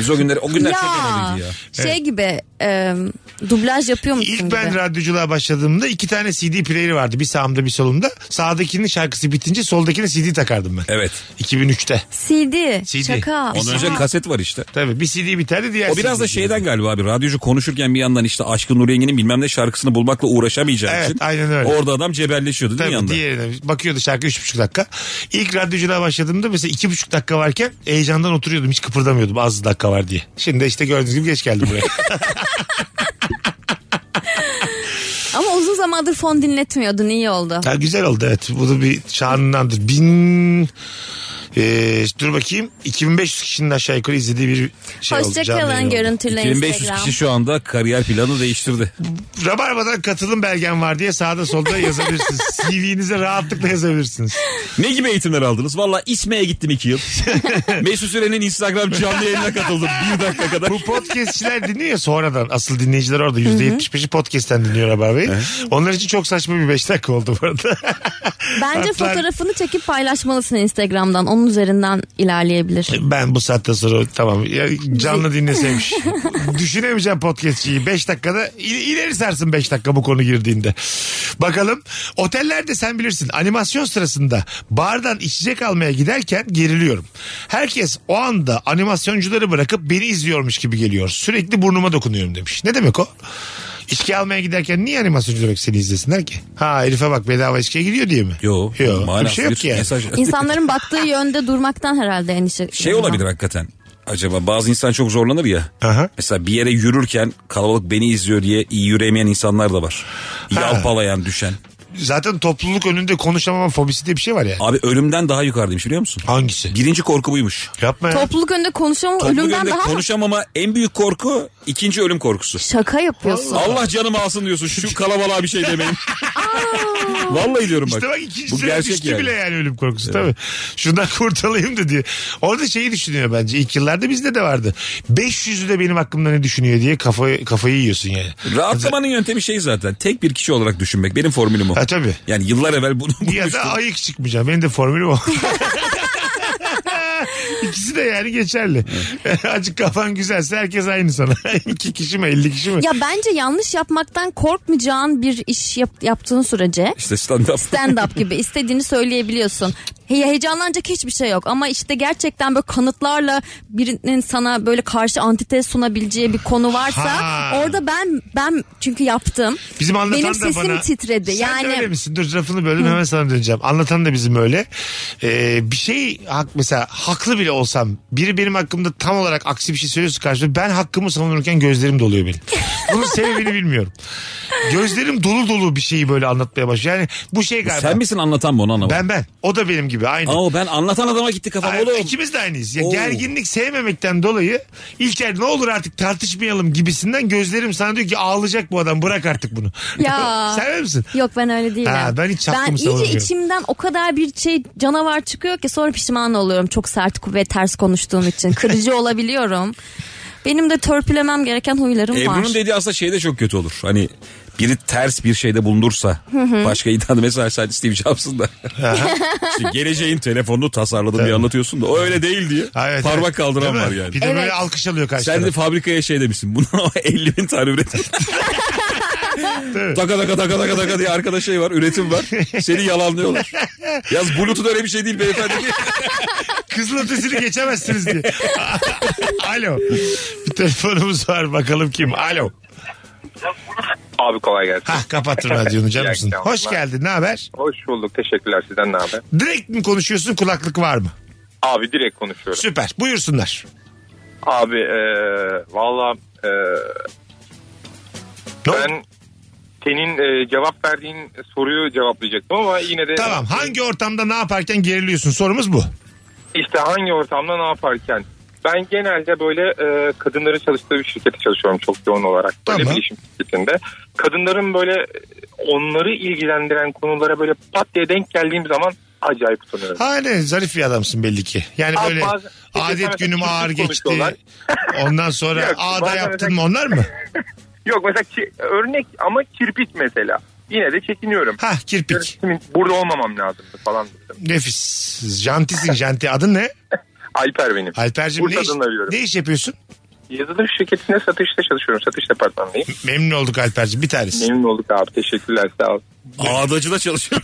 C: Biz o günleri o günler
B: ya,
C: çok önemliydi ya.
B: şey gibi e, dublaj yapıyor musun
A: İlk
B: gibi?
A: ben radyoculuğa başladığımda iki tane CD player'i vardı. Bir sağımda bir solumda. Sağdakinin şarkısı bitince soldakine CD takardım ben.
C: Evet.
A: 2003'te.
B: CD,
A: CD.
B: şaka.
C: Ondan önce kaset var işte.
A: Tabii bir CD biterdi diğer
C: O biraz da
A: CD
C: şeyden galiba abi radyocu konuşurken bir yandan işte Aşkın Nur Yengi'nin bilmem ne şarkısını bulmakla uğraşamayacağı
A: Evet,
C: için.
A: aynen öyle.
C: Orada adam cebelleşiyordu değil
A: Tabii
C: mi yanda?
A: diğerine bakıyordu şarkı üç buçuk dakika. İlk radyoculuğa başladığımda mesela iki buçuk dakika varken heyecandan oturuyordum. Hiç kıpırdamıyordum az dakika var diye. Şimdi işte gördüğünüz gibi geç geldim buraya.
B: Ama uzun zamandır fon dinletmiyordun iyi oldu.
A: Ha, güzel oldu evet. Bu da bir şanındandır. Bin... Ee, dur bakayım 2500 kişinin aşağı yukarı izlediği bir şey oldu. Canlı yayın
B: Hoşçakalın
A: oldu.
B: görüntüle
C: 2500
B: Instagram.
C: kişi şu anda kariyer planı değiştirdi.
A: Rabarba'dan katılım belgen var diye sağda solda yazabilirsiniz. CV'nize rahatlıkla yazabilirsiniz.
C: Ne gibi eğitimler aldınız? Valla İSME'ye gittim iki yıl. Mesut Süren'in Instagram canlı yayınına katıldım bir dakika kadar.
A: Bu podcastçiler dinliyor ya sonradan. Asıl dinleyiciler orada. %75'i podcast'ten dinliyor Rabarba'yı. Onlar için çok saçma bir 5 dakika oldu bu arada.
B: Bence
A: Hatta-
B: fotoğrafını çekip paylaşmalısın Instagram'dan. Onun üzerinden ilerleyebilir.
A: Ben bu saatten sonra tamam ya canlı dinleseymiş. Düşünemeyeceğim podcastçiyi 5 dakikada i- ileri sarsın 5 dakika bu konu girdiğinde. Bakalım otellerde sen bilirsin animasyon sırasında bardan içecek almaya giderken geriliyorum. Herkes o anda animasyoncuları bırakıp beni izliyormuş gibi geliyor. Sürekli burnuma dokunuyorum demiş. Ne demek o? İçki almaya giderken niye animasyoncu olarak seni izlesinler ki? Ha herife bak bedava içkiye gidiyor diye mi?
C: Yo,
A: Yo bir
C: manasız
A: şey yok
C: bir
A: ki yani.
C: mesaj.
B: İnsanların baktığı yönde durmaktan herhalde endişe.
C: Şey olabilir hakikaten. Acaba bazı insan çok zorlanır ya.
A: Aha.
C: Mesela bir yere yürürken kalabalık beni izliyor diye iyi yürüyemeyen insanlar da var. Yalpalayan, düşen.
A: Zaten topluluk önünde konuşamama fobisi diye bir şey var yani.
C: Abi ölümden daha yukarıdaymış biliyor musun?
A: Hangisi?
C: Birinci korku buymuş.
A: Yapma ya.
B: Topluluk önünde konuşamam
C: Topluluk
B: ölümden
C: önünde
B: daha mı?
C: konuşamama en büyük korku ikinci ölüm korkusu.
B: Şaka yapıyorsun.
C: Allah canımı alsın diyorsun şu kalabalığa bir şey demeyin. Vallahi diyorum bak.
A: İşte bak ikinci
C: Bu
A: sene
C: gerçek
A: düştü
C: yani.
A: bile yani ölüm korkusu tabii. Şundan kurtulayım da diye. Orada şeyi düşünüyor bence. İlk yıllarda bizde de vardı. 500'ü de benim hakkımda ne düşünüyor diye kafayı, kafayı yiyorsun yani.
C: Rahatlamanın yöntemi şey zaten. Tek bir kişi olarak düşünmek. Benim formülüm o.
A: Ha tabii.
C: Yani yıllar evvel bunu
A: Ya
C: bulmuştum.
A: da ayık çıkmayacağım. Benim de formülüm o. İkisi de yani geçerli. Azıcık kafan güzelse herkes aynı sana. İki kişi mi 50 kişi mi?
B: Ya bence yanlış yapmaktan korkmayacağın bir iş yap- yaptığın sürece
C: İşte stand-up.
B: stand up gibi istediğini söyleyebiliyorsun. He- heyecanlanacak hiçbir şey yok ama işte gerçekten böyle kanıtlarla birinin sana böyle karşı antitez sunabileceği bir konu varsa
A: Ha.
B: orada ben ben çünkü yaptım.
A: Bizim anlatan
B: Benim
A: da
B: sesim
A: bana-
B: titredi.
A: Sen
B: yani
A: de öyle misin? Dur lafını böldüm hemen sana döneceğim. Anlatan da bizim öyle. Ee, bir şey hak, mesela haklı bile olsam biri benim hakkımda tam olarak aksi bir şey söylüyorsa karşımda ben hakkımı savunurken gözlerim doluyor benim. Bunun sebebini bilmiyorum. Gözlerim dolu dolu bir şeyi böyle anlatmaya başlıyor. Yani bu şey galiba.
C: Sen misin anlatan mı onu anlamadım.
A: Ben ben. O da benim gibi aynı.
C: Ama ben anlatan adama gitti kafam
A: Ay,
C: oğlum.
A: İkimiz de aynıyız. Ya
C: Oo.
A: gerginlik sevmemekten dolayı İlker ne olur artık tartışmayalım gibisinden gözlerim sana diyor ki ağlayacak bu adam bırak artık bunu.
B: Ya.
A: Sevmiyor misin?
B: Yok ben öyle değilim.
A: Ha, ben hiç hakkımı
B: iyice
A: savunmuyorum.
B: içimden o kadar bir şey canavar çıkıyor ki sonra pişman oluyorum. Çok sert ve ters konuştuğum için. Kırıcı olabiliyorum. Benim de törpülemem gereken huylarım var.
C: Ebru'nun dediği aslında şeyde çok kötü olur. Hani biri ters bir şeyde bulunursa başka iddia mesela sen Steve Jobs'ın da İşte geleceğin telefonunu tasarladım diye anlatıyorsun da o öyle değil diye
A: Ha, evet,
C: parmak
A: evet.
C: kaldıran
A: Değil
C: var
A: mi?
C: yani.
A: Bir de böyle
B: Evet.
A: alkış alıyor karşı
C: Sen de
A: taraf.
C: fabrikaya şey demişsin. Bunu 50 bin tane üretim. taka taka taka taka taka diye arkada şey var. Üretim var. Seni yalanlıyorlar. Yaz Bluetooth öyle bir şey değil beyefendi.
A: Kızıl ötesini geçemezsiniz diye. Alo. Bir telefonumuz var bakalım kim? Alo.
H: Abi kolay gelsin.
A: Hah kapattın radyonu canımsın.
H: İyi akşamlar.
A: Hoş geldin ne haber?
H: Hoş bulduk. Teşekkürler sizden ne haber?
A: Direkt mi konuşuyorsun kulaklık var mı?
H: Abi direkt konuşuyorum.
A: Süper buyursunlar.
H: Abi e, eee valla eee,
A: Ne oldu?
H: ben senin eee, cevap verdiğin soruyu cevaplayacaktım ama yine de
A: Tamam hangi ortamda ne yaparken geriliyorsun sorumuz bu.
H: işte hangi ortamda ne yaparken ben genelde böyle e, eee kadınların çalıştığı bir şirkette çalışıyorum çok yoğun olarak. Böyle
A: Tamam.
H: bir işim şirketinde. Kadınların böyle eee, onları ilgilendiren konulara böyle pat diye denk geldiğim zaman acayip utanıyorum.
A: Ha ne zarif bir adamsın belli ki. Yani
H: Abi
A: böyle
H: bazen-
A: adet günüm ağır
H: Konuşuyorlar.
A: geçti. Ondan sonra
H: Yok,
A: ağda
H: bazen
A: yaptın
H: mesela-
A: mı onlar mı?
H: Yok mesela ki- örnek ama kirpik mesela. Yine de çekiniyorum.
A: Ha
H: Diyorum,
A: kirpik.
H: Şimdi burada olmamam lazım falan. dedim.
A: Nefis. Jantisin janti. Adın ne?
H: Alper benim.
A: Alper'cim ne iş,
H: Bursa'dan arıyorum.
A: ne iş yapıyorsun?
H: Yazılım şirketinde satışta çalışıyorum. Satış departmanındayım.
A: Memnun olduk Alper'cim bir tanesi.
H: Memnun olduk abi. Teşekkürler sağ ol.
C: Ağdacı da çalışıyor.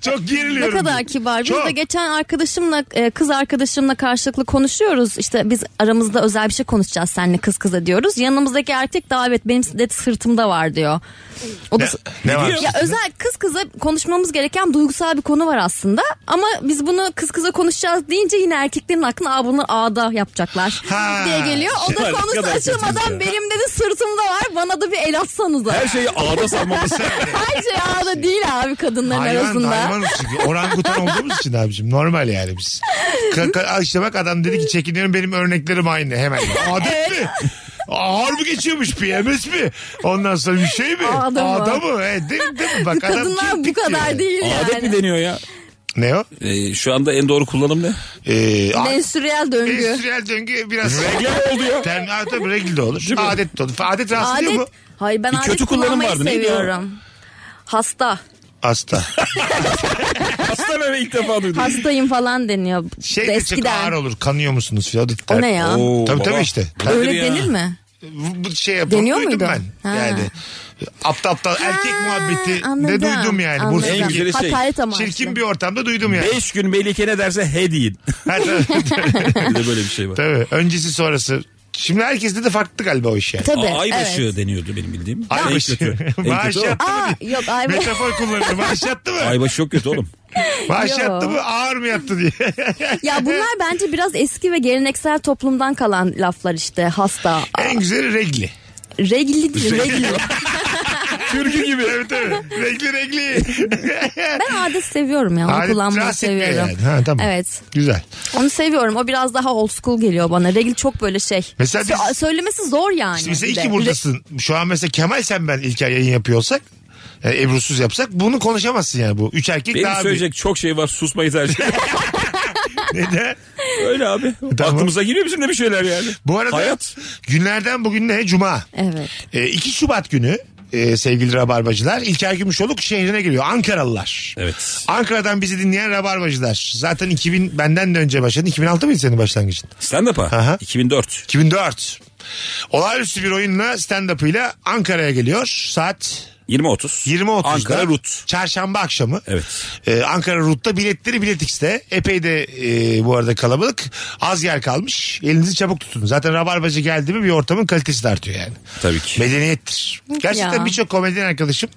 A: Çok
B: Ne
A: geriliyorum.
B: kadar kibar. Biz
A: Çok.
B: de geçen arkadaşımla e, kız arkadaşımla karşılıklı konuşuyoruz. İşte biz aramızda özel bir şey konuşacağız seninle kız kıza diyoruz. Yanımızdaki erkek daha evet benim de sırtımda var diyor. O da,
A: Ne, ne var?
B: Ya özel kız kıza konuşmamız gereken duygusal bir konu var aslında. Ama biz bunu kız kıza konuşacağız deyince yine erkeklerin aklına Aa, bunu ağda yapacaklar
A: Ha.
B: diye geliyor. O
C: Ya,
B: da
C: ne
B: konusu
C: kadar kötüyüz ya.
B: açılmadan benim dedi sırtımda var bana da bir el atsanıza.
C: Her
A: şey-
C: şeyi ağda sarmamız.
B: Her şey ağda değil abi kadınların
A: Hayvan,
B: arasında.
A: hayvan çünkü. Orangutan olduğumuz için abicim. Normal yani biz. Ka- ka- işte bak adam dedi ki çekiniyorum benim örneklerim aynı hemen. Adet mi? Ağır mı geçiyormuş PMS mi? Ondan sonra bir şey mi?
B: Ağda mı?
A: Ağda mı? E, değil, mi- değil mi? Bak adam
B: Kadınlar bu
A: kirpik diyor
B: kadar
A: yani.
B: değil
C: Adet mi
B: yani.
C: deniyor ya?
A: Ne o?
C: Ee, şu anda en doğru kullanım ne?
A: Ee, a-
B: Menstrüel döngü.
A: Endüstriyel döngü biraz...
C: Regle mi oldu ya?
A: Term, ha, tabii regl de olur.
C: mi?
A: Adet de olur. Adet rahatsız ediyor mu?
B: Adet. Hayır ben
C: Bir
B: adet
C: kötü kullanım
B: kullanmayı
C: vardı, neydi o?
B: seviyorum. Hasta.
A: Hasta.
C: Hasta meme ilk defa duydum.
B: Hastayım falan deniyor
A: Şey de çok ağır
B: eskiden.
A: olur. Kanıyor musunuz filan.
B: O ne ya?
C: Oo,
A: Tabii
C: baba.
A: tabii işte. Tabii.
B: Öyle
C: ya.
B: denir mi?
A: Bu, bu şey yapıp
B: Deniyor
A: duydum
B: muydu?
A: ben.
B: Ha.
A: Yani aptal aptal erkek muhabbeti ne duydum yani.
B: Anladım.
C: En
A: Bursa'daki
C: güzeli şey,
B: Hakaret amaçlı.
A: çirkin bir ortamda duydum yani.
C: 5 gün Melike ne derse he deyin.
A: Ha, tabii,
C: Bir de böyle bir şey var.
A: tabii. Öncesi sonrası. Şimdi herkeste de farklı galiba o iş yani.
B: Tabii.
C: Aa, ay
B: evet.
C: başı deniyordu benim bildiğim. En
A: Aybaşı.
C: kötü. En kötü
A: Maaş
C: o.
A: yap-
B: Aa yok ay başı.
A: Metafor kullanılır. Maaş yattı mı?
C: Aybaşı çok kötü oğlum.
A: Maaş
B: Yo.
A: yattı mı? Ağır mı yattı diye.
B: ya bunlar bence biraz eski ve geleneksel toplumdan kalan laflar işte hasta.
A: en güzeli regli.
B: Regli değil regli.
A: Türkü gibi. evet evet. Regli regli.
B: Ben adet seviyorum ya onu
A: Adet
B: kullanmayı
A: rahatsız etmiyor
B: seviyorum.
A: yani. Ha, tamam.
B: Evet
A: Güzel.
B: onu seviyorum o biraz daha old school geliyor bana. Regli çok böyle şey.
A: Mesela
B: Sö-
A: biz-
B: Söylemesi zor yani.
A: Şimdi sen
B: bir de.
A: iki buradasın. Şu an mesela Kemal sen ben İlker yayın yapıyor olsak. e, Ebru'suz yapsak bunu konuşamazsın yani bu. Üç erkek
C: Benim
A: daha
C: söyleyecek çok şey var susmayı tercih ederim.
A: bir. Neden?
C: Öyle abi.
A: Tamam.
C: Aklımıza geliyor bizim de bir şeyler yani.
A: Bu arada
C: Hayat.
A: günlerden bugün ne? Cuma.
B: Evet.
A: E, 2 Şubat günü e, sevgili Rabarbacılar İlker Gümüşoluk şehrine geliyor. Ankaralılar.
C: Evet.
A: Ankara'dan bizi dinleyen Rabarbacılar. Zaten 2000 benden de önce başladın. 2006 mıydı senin başlangıcın?
C: Stand up'a.
A: Aha.
C: 2004.
A: 2004. Olağanüstü bir oyunla stand-up'ıyla Ankara'ya geliyor. Saat
C: 20.30.
A: 20.30'da.
C: Ankara Rut.
A: Çarşamba akşamı.
C: Evet.
A: Ee, Ankara Rut'ta biletleri Bilet X'te. Epey de e, bu arada kalabalık. Az yer kalmış. Elinizi çabuk tutun. Zaten rabarbacı geldi mi bir ortamın kalitesi de artıyor yani.
C: Tabii ki.
A: Medeniyettir. Gerçekten
B: Ya.
A: birçok komedyen arkadaşım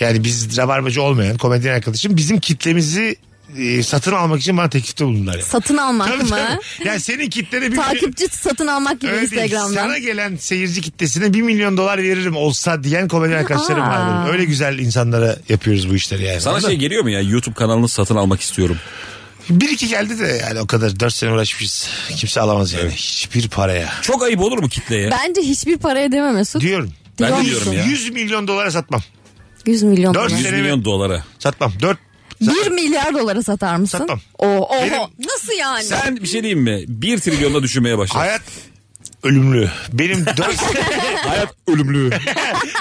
A: yani biz rabarbacı olmayan komedyen arkadaşım bizim kitlemizi e, satın almak için bana teklifte bulundular. Yani.
B: Satın almak
A: Tabii,
B: mı?
A: tabii. Yani senin kitlene bir
B: Takipçi satın almak gibi
A: Öyle değil.
B: Instagram'dan.
A: Sana gelen seyirci kitlesine 1 milyon dolar veririm olsa diyen komedyen arkadaşlarım var.
B: Aa.
A: benim. Öyle güzel insanlara yapıyoruz bu işleri yani.
C: Sana
A: Anladın
C: şey
A: mı?
C: geliyor mu ya YouTube kanalını satın almak istiyorum.
A: Bir iki geldi de yani o kadar 4 sene uğraşmışız. Kimse alamaz yani. Hiçbir paraya.
C: Çok ayıp olur mu kitleye?
B: Bence hiçbir paraya deme Mesut.
A: Diyorum.
C: Ben de
B: Diyor
C: diyorum
B: musun?
C: ya.
A: 100 milyon dolara satmam.
B: 100 milyon
A: Dört
B: dolar.
C: 100
A: sene-
C: milyon dolara.
A: Satmam. 4
B: 1 milyar dolara satar mısın?
A: Satmam.
B: Oo, oho.
A: Benim-
B: Nasıl yani?
C: Sen bir şey diyeyim mi? 1 trilyonda düşünmeye başladın.
A: hayat ölümlü. Benim 4
C: Hayat ölümlü.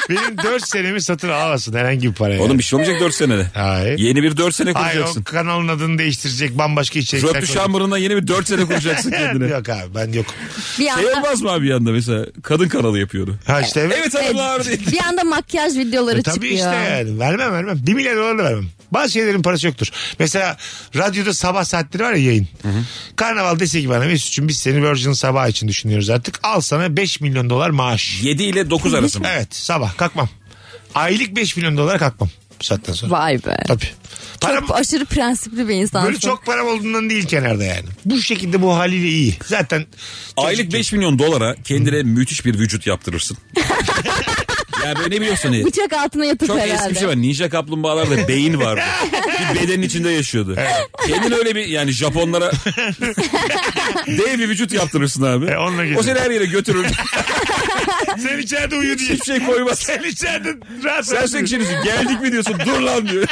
A: benim 4 senemi satın alamazsın herhangi bir paraya.
C: Oğlum bir şey olmayacak 4 senede.
A: Hayır.
C: Yeni bir 4 sene
A: Hayır şey o
C: kuracaksın.
A: kanalın adını değiştirecek bambaşka içerikler.
C: Röptü şambırından yeni bir 4 sene kuracaksın
A: koyacak.
C: kendine.
A: Yok abi ben yok.
B: bir anda,
C: Şey olmaz mı abi yanında mesela? Kadın kanalı yapıyordu.
A: Ha işte evet.
C: Evet hanımlar. diye.
B: bir anda makyaj videoları
A: E tabii
B: çıkıyor.
A: işte yani. Vermem vermem. 1 milyar dolar da vermem. Bazı şeylerin parası yoktur. Mesela radyoda sabah saatleri var ya yayın. Karnaval dese ki bana Mesut'cum biz seni Virgin sabah için düşünüyoruz artık. Al sana 5 milyon dolar maaş.
C: 7 ile 9 arası mı?
A: Evet sabah kalkmam. Aylık 5 milyon dolara kalkmam bu saatten sonra.
B: Vay be.
A: Tabii. Param,
B: Çok aşırı prensipli bir insansın.
A: böyle çok param olduğundan değil kenarda yani. Bu şekilde bu haliyle iyi. Zaten
C: Aylık 5 milyon dolara kendine müthiş bir vücut yaptırırsın. ya böyle ne biliyorsun hani?
B: Bıçak altına yatıp
C: Çok
B: herhalde.
C: eski bir şey var. Ninja kaplumbağalarda beyin vardı. bir bedenin içinde yaşıyordu. Kendin öyle bir yani Japonlara dev bir vücut yaptırırsın abi.
A: E, onunla
C: o
A: gezin.
C: seni her yere götürür.
A: Sen içeride uyu diye.
C: Hiçbir şey koymaz.
A: Sen içeride rahat
C: Sen
A: ol diyor.
C: sekçilisin geldik mi diyorsun dur lan diyor.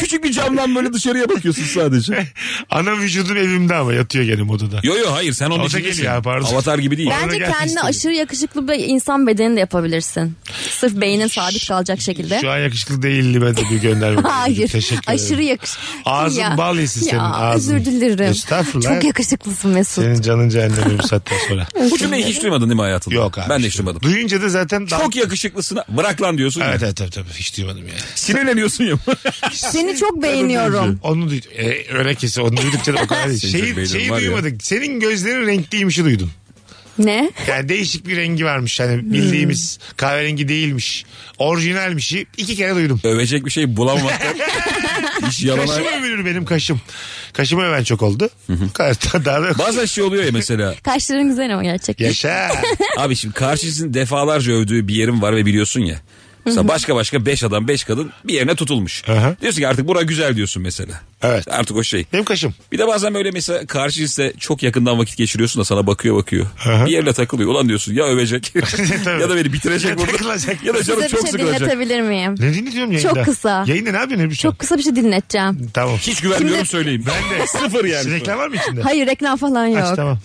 C: Küçük bir camdan böyle dışarıya bakıyorsun sadece.
A: Ana vücudum evimde ama yatıyor gene odada.
C: Yo yo hayır sen onun
A: Orada
C: için
A: geliyor
C: değilsin.
A: ya, pardon.
C: Avatar gibi değil.
A: Bana
B: Bence
A: gelsin
B: kendine
A: istedim.
B: aşırı yakışıklı bir insan bedeni de yapabilirsin. Sırf beynin sabit kalacak şekilde.
A: Şu an yakışıklı değildi ben de bir gönderme.
B: Hayır.
A: Teşekkür ederim.
B: aşırı yakışıklı.
A: Ağzın bal yesin senin, ağzın.
B: Özür dilerim.
A: Estağfurullah.
B: Çok yakışıklısın Mesut.
A: Senin canın cehenneme bu saatten sonra.
C: Bu cümleyi hiç duymadın değil mi hayatında?
A: Yok abi.
C: Ben de hiç
A: işte.
C: duymadım.
A: Duyunca da zaten...
C: Çok yakışıklısına bırak lan diyorsun.
A: Evet
C: ya.
A: evet tabii tabii hiç duymadım yani.
C: Sinirleniyorsun ya.
B: Seni çok beğeniyorum.
A: Onu duydum. E, öyle kesin onu duydukça da o kadar değil.
C: Seni çok
A: Şeyi,
C: beğeniyorum
A: şeyi
C: var ya.
A: duymadık. Senin gözlerin renkliymişi duydum.
B: Ne?
A: Yani değişik bir rengi varmış.
B: Hmm.
A: Yani bildiğimiz kahverengi değilmiş. Orijinalmişi iki kere duydum.
C: Övecek bir şey bulamamaktan hiç yalana...
A: Kaşım övülür benim kaşım. Kaşım öven çok oldu. Bu kadar daha da
C: Bazen şey oluyor ya mesela.
B: Kaşların güzel ama gerçekten.
A: Yaşa.
C: Abi şimdi karşısının defalarca övdüğü bir yerim var ve biliyorsun ya. Mesela başka başka beş adam beş kadın bir yerine tutulmuş.
A: Aha.
C: Diyorsun ki artık bura güzel diyorsun mesela.
A: Evet.
C: Artık o şey.
A: Benim kaşım.
C: Bir de bazen böyle mesela karşı cinsle çok yakından vakit geçiriyorsun da sana bakıyor bakıyor.
A: Aha.
C: Bir yerine takılıyor. Ulan diyorsun ya övecek
A: Tabii.
C: ya da beni
A: Ya
C: bitirecek burada.
A: takılacak.
C: Ya da canım
B: Size bir
C: çok
B: şey
C: sıkılacak.
B: dinletebilir miyim?
A: Ne dinliyorum yayında?
B: Çok kısa.
A: Yayında ne yapıyorsun? Ebru sen?
B: Çok kısa bir şey dinleteceğim.
A: Tamam.
C: Hiç güvenmiyorum
B: Şimdi-
C: söyleyeyim. Ben de. Sıfır yani.
A: Reklam var mı içinde?
B: Hayır reklam falan yok.
A: Aç, tamam.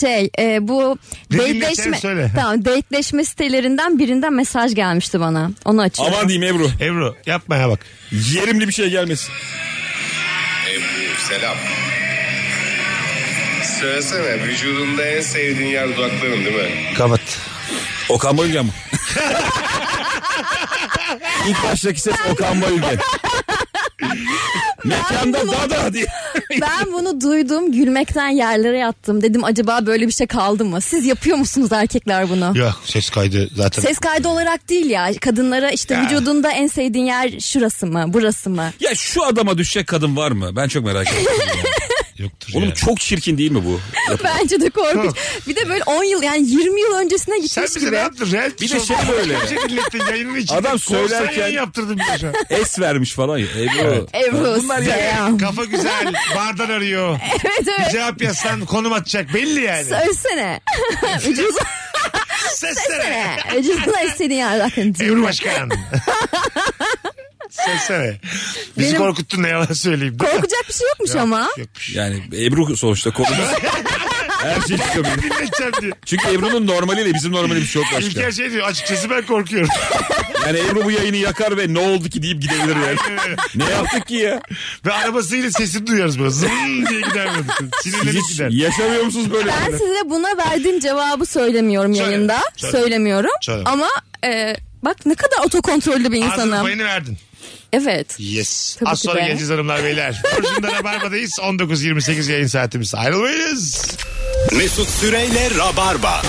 B: Şey e, bu
A: Ne dinleteceğini
B: dateleşme
A: söyle.
B: tamam dateleşme sitelerinden birinden mesaj gelmişti bana. Onu açıyorum.
C: Aman diyeyim Ebru.
A: Ebru yapma ya bak.
C: Yerimli bir şey gelmesin.
I: Ebru selam. Söylesene vücudunda en sevdiğin yer dudakların değil mi?
A: Kapat.
C: Okan Bayülgen mi? İlk baştaki ses Okan Bayülgen. Mekanda dada diye.
B: Ben bunu duydum gülmekten yerlere yattım. Dedim acaba böyle bir şey kaldı mı? Siz yapıyor musunuz erkekler bunu?
A: Yok ses kaydı zaten.
B: Ses kaydı olarak değil ya. Kadınlara işte
A: Ya.
B: vücudunda en sevdiğin yer şurası mı? Burası mı?
C: Ya şu adama düşecek kadın var mı? Ben çok merak ediyorum.
A: Yoktur
C: Oğlum
A: ya.
C: çok çirkin değil mi bu?
B: Bence de korkunç.
A: Çok.
B: Bir de böyle 10 yıl yani 20 yıl öncesine
A: Sen
B: gitmiş
A: bize
B: gibi.
A: ne yaptın? Reality
C: Bir de
A: show-
C: şey böyle.
A: Bir şey dinlettin yayının içinde.
C: Adam
A: Korsan
C: söylerken-
A: yayın yaptırdın bize şu an.
C: Es vermiş falan ya. Ebru.
B: Ebru selam.
A: Kafa güzel. Bardan arıyor.
B: Evet
A: Bir
B: evet.
A: cevap yazsan konum atacak. Belli yani.
B: Söylesene. Ucuz.
A: Sessene.
B: Ucuzla istediğin yer bakın.
A: Ebru Başkan. Sessene. Bizi
B: Benim-
A: korkuttun ne yalan söyleyeyim. Değil mi?
B: Korkacak bir şey yokmuş ama.
A: Yokmuş.
C: Yani Ebru sonuçta konumuz. Her şey çıkabilir.
A: Dinleteceğim diyor.
C: Çünkü Ebru'nun normaliyle bizim normalimiz çok başka.
A: İlker şey diyor açıkçası ben korkuyorum.
C: Yani Ebru bu yayını yakar ve ne oldu ki deyip gidebilir yani.
A: öyle.
C: ne yaptık ki ya?
A: Ve arabasıyla sesini duyarız böyle. Zın diye gider böyle.
C: Siz
A: Sinirlenip
C: hiç
A: gider.
C: yaşamıyor musunuz böyle?
B: Ben size buna verdiğim cevabı söylemiyorum
A: Söyle,
B: yayında.
A: söyle.
B: Söylemiyorum.
A: Söyle.
B: Ama e, bak ne kadar otokontrollü bir
A: Ağzının
B: insanım.
A: payını verdin.
B: Evet.
A: Yes.
B: Tabii
A: Az
B: ki
A: sonra
B: de.
A: geleceğiz hanımlar beyler. Burcu'nda Rabarba'dayız. 19.28 yayın saatimiz. Ayrılmayınız.
G: Mesut Süreyle Rabarba.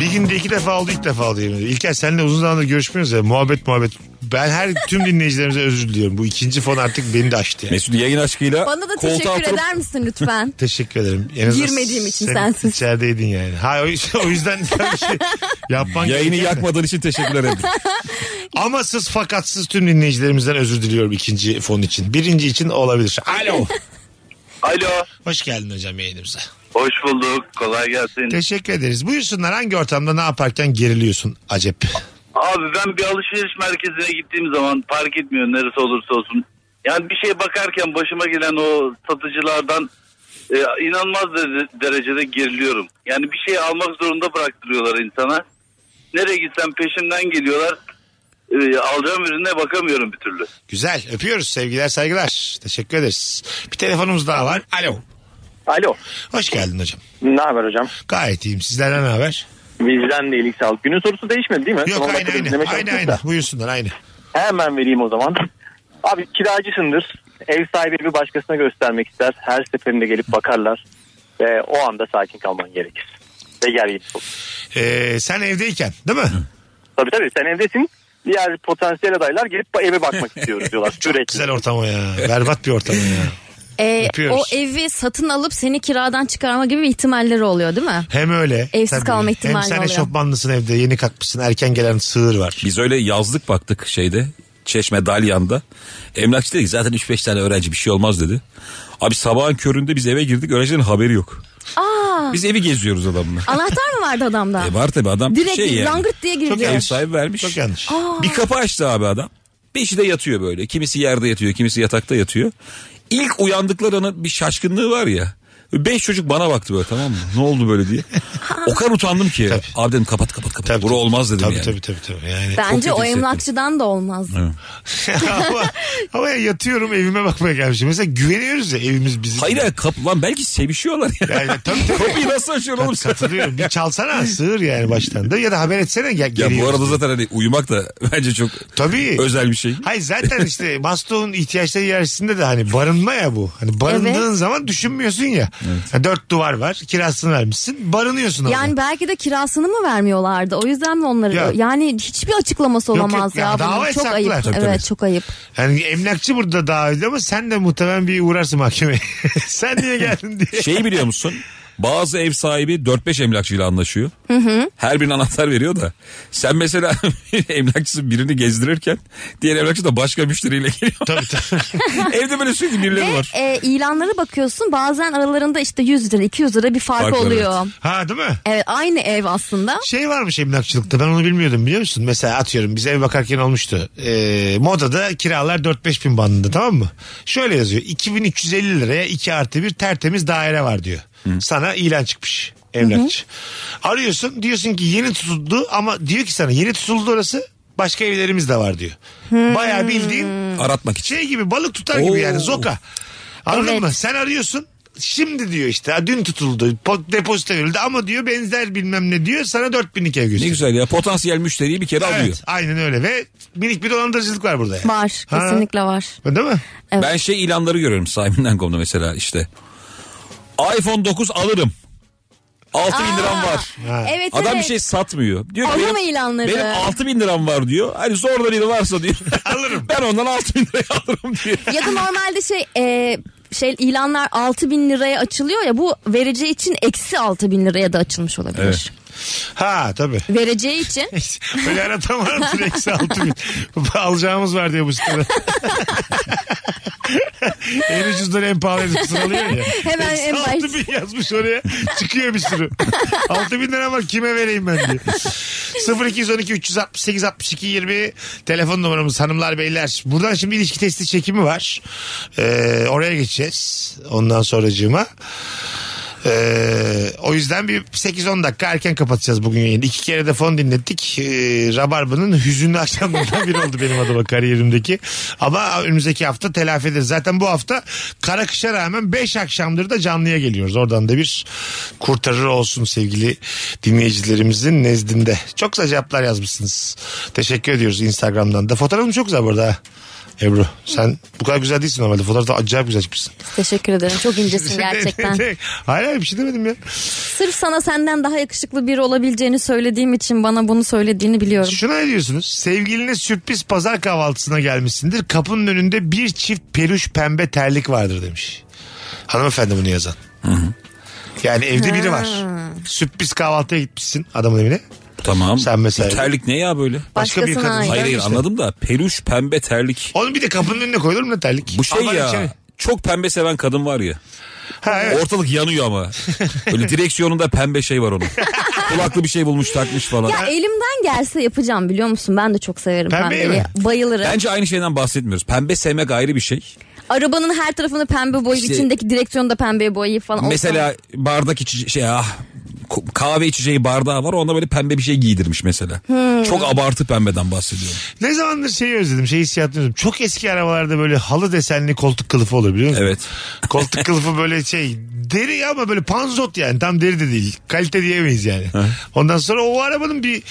A: Bir günde iki defa oldu ilk defa oldu yemin ederim. İlker seninle uzun zamandır görüşmüyoruz ya. Muhabbet muhabbet. Ben her tüm dinleyicilerimize özür diliyorum. Bu ikinci fon artık beni de aştı. Yani.
C: Mesut yayın aşkıyla
B: Bana da
C: koltuğa
B: teşekkür
C: oturup
B: eder misin lütfen?
A: Teşekkür ederim. En azından
B: Girmediğim için
A: sen
B: sensiz.
A: İçerideydin yani. Ha o yüzden, o yüzden bir şey yapman
C: yayını
A: gereken de.
C: yakmadığın için teşekkürler ederim.
A: Amasız fakatsız tüm dinleyicilerimizden özür diliyorum ikinci fon için. Birinci için olabilir. Alo.
D: Alo.
A: Hoş geldin hocam yayınımıza.
D: Hoş bulduk. Kolay gelsin.
A: Teşekkür ederiz. Buyursunlar hangi ortamda ne yaparken geriliyorsun acep?
D: Abi ben bir alışveriş merkezine gittiğim zaman fark etmiyor neresi olursa olsun. Yani bir şeye bakarken başıma gelen o satıcılardan e, inanılmaz de- derecede geriliyorum. Yani bir şey almak zorunda bıraktırıyorlar insana. Nereye gitsem peşimden geliyorlar. E, alacağım ürüne bakamıyorum bir türlü.
A: Güzel öpüyoruz sevgiler saygılar. Teşekkür ederiz. Bir telefonumuz daha var. Alo.
J: Alo.
A: Hoş geldin hocam.
J: Ne haber hocam?
A: Gayet iyiyim. Sizlerden ne haber?
J: Bizden de iyilik sağlık. Günün sorusu değişmedi değil mi?
A: Yok
J: Son
A: aynı
J: dakikada
A: aynı.
J: dinleme
A: Aynı
J: şansınız
A: aynı.
J: da.
A: Buyursunlar aynı.
J: Hemen vereyim o zaman. Abi kiracısındır. Ev sahibi bir başkasına göstermek ister. Her seferinde gelip bakarlar. Ve o anda sakin kalman gerekir. Ve gergin olur.
A: Ee, sen evdeyken değil mi?
J: Tabii tabii sen evdesin. Diğer potansiyel adaylar gelip eve bakmak istiyoruz diyorlar. Sürekli.
A: Güzel ortam o ya. Berbat bir ortam o ya.
B: Ee,
A: Öpüyoruz.
B: o evi satın alıp seni kiradan çıkarma gibi ihtimalleri oluyor değil mi?
A: Hem öyle.
B: Evsiz kalma ihtimali
A: Hem sen
B: oluyor.
A: eşofmanlısın evde yeni kalkmışsın erken gelen sığır var.
C: Biz öyle yazlık baktık şeyde. Çeşme Dalyan'da. Emlakçı dedi ki zaten 3-5 tane öğrenci bir şey olmaz dedi. Abi sabahın köründe biz eve girdik öğrencilerin haberi yok.
B: Aa,
C: Biz evi geziyoruz adamla.
B: anahtar mı vardı adamda?
C: E var tabi adam
B: Direkt
C: şey yani.
B: langırt diye girdi.
A: Çok
C: Ev
A: yanlış.
C: sahibi vermiş.
A: Çok yanlış.
C: Bir kapı açtı abi adam. Beşi de yatıyor böyle. Kimisi yerde yatıyor, kimisi yatakta yatıyor. İlk uyandıkları anın bir şaşkınlığı var ya. Beş çocuk bana baktı böyle tamam mı? Ne oldu böyle diye. O kadar utandım ki.
A: Tabii.
C: Abi dedim kapat kapat kapat.
A: Tabii,
C: Bura
A: tabii.
C: olmaz dedim
A: Tabii
C: yani.
A: tabii tabii tabii. Yani.
B: Bence
C: Çok
B: o
C: kötü hissettim.
B: emlakçıdan da olmaz.
A: ama, ama ya yatıyorum evime bakmaya gelmişim. Mesela güveniyoruz ya evimiz bizim.
C: Hayır ya kapı lan belki sevişiyorlar ya.
A: Yani tabii tabii.
C: Kapıyı nasıl açıyorsun oğlum sen?
A: Katılıyorum. Bir çalsana sığır yani baştan da ya da haber etsene gel
C: Ya
A: geliyoruz
C: bu arada
A: diye.
C: zaten hani uyumak da bence çok
A: Tabii.
C: özel bir şey.
A: Hayır zaten işte Maslow'un ihtiyaçları içerisinde de hani barınma ya bu. Hani barındığın
B: Evet.
A: zaman düşünmüyorsun ya. Ha, dört duvar var kirasını vermişsin barınıyorsun orada.
B: Yani belki de kirasını mı vermiyorlardı? O yüzden mi onları
A: Ya.
B: yani hiçbir açıklaması
A: Yok,
B: olamaz
A: yok. Ya
B: ya. bunun.
A: dava
B: çok
A: etsek
B: ayıp.
A: haklılar.
B: evet çok ayıp.
A: Yani emlakçı burada daha öyle ama sen de muhtemelen bir uğrarsın mahkemeye. sen niye geldin diye.
C: Şeyi biliyor musun? Bazı ev sahibi 4-5 emlakçıyla anlaşıyor. Her birine anahtar veriyor da. Sen mesela emlakçısın birini gezdirirken diğer emlakçı da başka müşteriyle geliyor.
A: Tabii tabii.
C: Evde böyle sürekli birileri
B: Ve
C: var.
B: e, ilanlara bakıyorsun bazen aralarında işte 100 lira 200 lira bir fark
C: Fark var,
B: oluyor. Evet.
A: Ha değil mi?
B: aynı ev aslında.
A: Şey varmış emlakçılıkta ben onu bilmiyordum biliyor musun? Mesela atıyorum biz ev bakarken olmuştu. Ee, modada kiralar 4-5 bin bandında tamam mı? Şöyle yazıyor 2350 liraya 2 artı bir tertemiz daire var diyor. Sana ilan çıkmış emlakçı. Arıyorsun diyorsun ki yeni tutuldu ama diyor ki sana yeni tutuldu orası başka evlerimiz de var diyor. Bayağı bildiğin
C: Aratmak için.
A: şey gibi balık tutar gibi yani
C: Oo.
A: zoka. Anladın
B: Evet.
A: mı? Sen arıyorsun. Şimdi diyor işte "Ha, dün tutuldu po- depozito verildi ama diyor benzer bilmem ne diyor sana 4000'lik ev gösteriyor.
C: Ne güzel ya potansiyel müşteriyi bir kere alıyor.
A: Evet, aynen öyle ve minik bir dolandırıcılık var burada. Yani.
B: Var
A: Ha.
B: kesinlikle var.
A: Değil mi?
B: Evet.
C: Ben şey ilanları görüyorum sahibinden.com'da mesela işte. iPhone 9 alırım. 6 bin liram var.
A: Ha.
B: Evet
C: Adam
B: evet.
C: bir şey satmıyor. Diyor ki
B: Alırım
C: benim,
B: ilanları.
C: Benim 6 bin liram var diyor. Hani zorla biri varsa diyor.
A: Alırım.
C: ben ondan 6 bin liraya alırım diyor.
B: Ya da normalde şey e, şey ilanlar 6000 bin liraya açılıyor ya bu vereceği için eksi 6000 bin liraya da açılmış olabilir.
A: Ha tabii.
B: Vereceği için
A: Öyle aratamam eksi altı bin. Alacağımız var diyor bu sitede. en ucuzdan en pahalı herif sıralıyor ya.
B: Hemen
A: Eksi
B: en baş.
A: altı bin yazmış oraya. Çıkıyor bir sürü. Altı bin lira var kime vereyim ben diyor. 0212 368 62 20 telefon numaramız hanımlar beyler. Buradan şimdi ilişki testi çekimi var. Ee, oraya geçeceğiz. Ondan sonracığıma. Ee, o yüzden bir 8-10 dakika erken kapatacağız bugün yayını. İki kere de fon dinlettik. Ee, Rabarba'nın hüzünlü akşamlarından biri oldu benim adıma kariyerimdeki. Ama önümüzdeki hafta telafi ederiz. Zaten bu hafta kara kışa rağmen 5 akşamdır da canlıya geliyoruz. Oradan da bir kurtarır olsun sevgili dinleyicilerimizin nezdinde. Çok güzel cevaplar yazmışsınız. Teşekkür ediyoruz Instagram'dan da. Fotoğrafım çok güzel burada. ha. Ebru sen bu kadar güzel değilsin normalde. Fotoğrafta acayip güzel çıkmışsın.
B: teşekkür ederim çok incesin gerçekten.
A: hayır hayır bir şey demedim ya.
B: Sırf sana senden daha yakışıklı biri olabileceğini söylediğim için bana bunu söylediğini biliyorum.
A: Şuna ne diyorsunuz? Sevgiline sürpriz pazar kahvaltısına gelmişsindir. Kapının önünde bir çift peluş pembe terlik vardır demiş. Hanımefendi bunu yazan. Yani evde biri var. Sürpriz kahvaltıya gitmişsin adamın evine.
C: Tamam.
A: Sen mesela-
C: Bu terlik ne ya böyle?
A: Başka bir
B: Başkasına
A: kadın.
B: ait.
C: Hayır hayır
A: işte.
C: anladım da peluş pembe terlik.
A: Oğlum bir de kapının önüne koyulur mu ne terlik?
C: Bu şey
A: Aman
C: ya.
A: içeri.
C: Çok pembe seven kadın var ya.
A: Ha, evet.
C: Ortalık yanıyor ama. Böyle direksiyonunda pembe şey var onun. Kulaklı bir şey bulmuş takmış falan.
B: Ya elimden gelse yapacağım biliyor musun? Ben de çok severim
A: Pembeyi
B: pembeyi.
A: mi?
B: Bayılırım.
C: Bence aynı şeyden bahsetmiyoruz. Pembe sevmek ayrı bir şey.
B: Arabanın her tarafını pembe boyayıp
C: İşte-
B: içindeki direksiyonu da pembeye boyayıp falan. olsam-
C: Mesela bardak içeceği şey ah ku- kahve içeceği bardağı var onda böyle pembe bir şey giydirmiş mesela. Çok abartı pembeden bahsediyorum.
A: Ne zamandır şeyi özledim, şey hissiyatını özledim. Çok eski arabalarda böyle halı desenli koltuk kılıfı olur biliyor musun?
C: Evet.
A: Koltuk kılıfı böyle şey deri ama böyle panzot yani tam deri de değil. Kalite diyemeyiz yani. Ondan sonra o arabanın bir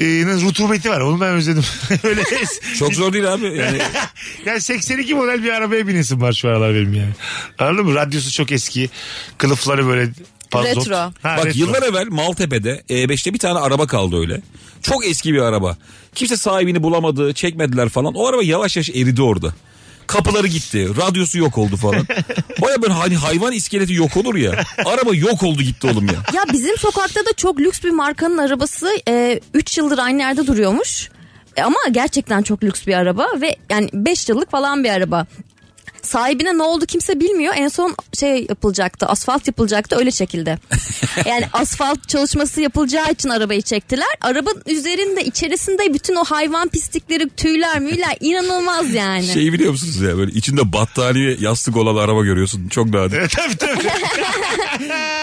A: e, nasıl rutubeti var. Onu ben özledim. Öyle es-
C: Çok zor değil abi. Yani
A: yani 82 model bir arabaya binesim var şu aralar benim yani. Anladın mı? Radyosu çok eski. Kılıfları böyle panzot.
B: Retro.
A: Ha,
C: Bak
A: retro.
C: yıllar evvel Maltepe'de E5'te bir tane araba kaldı öyle. Çok eski bir araba. Kimse sahibini bulamadı, çekmediler falan. O araba yavaş yavaş eridi orada. Kapıları gitti. Radyosu yok oldu falan. Baya böyle hani hayvan iskeleti yok olur ya. Araba yok oldu gitti oğlum ya.
B: Ya bizim sokakta da çok lüks bir markanın arabası 3 yıldır aynı yerde duruyormuş. E, Ama gerçekten çok lüks bir araba ve yani 5 yıllık falan bir araba. Sahibine ne oldu kimse bilmiyor. En son şey yapılacaktı, asfalt yapılacaktı öyle çekildi. Yani asfalt çalışması yapılacağı için arabayı çektiler. Arabanın üzerinde içerisinde bütün o hayvan pislikleri, tüyler, müyler inanılmaz yani.
C: Şeyi biliyor musunuz ya böyle içinde battaniye yastık olan araba görüyorsun. Çok nadir.
A: Evet E, tabii tabii.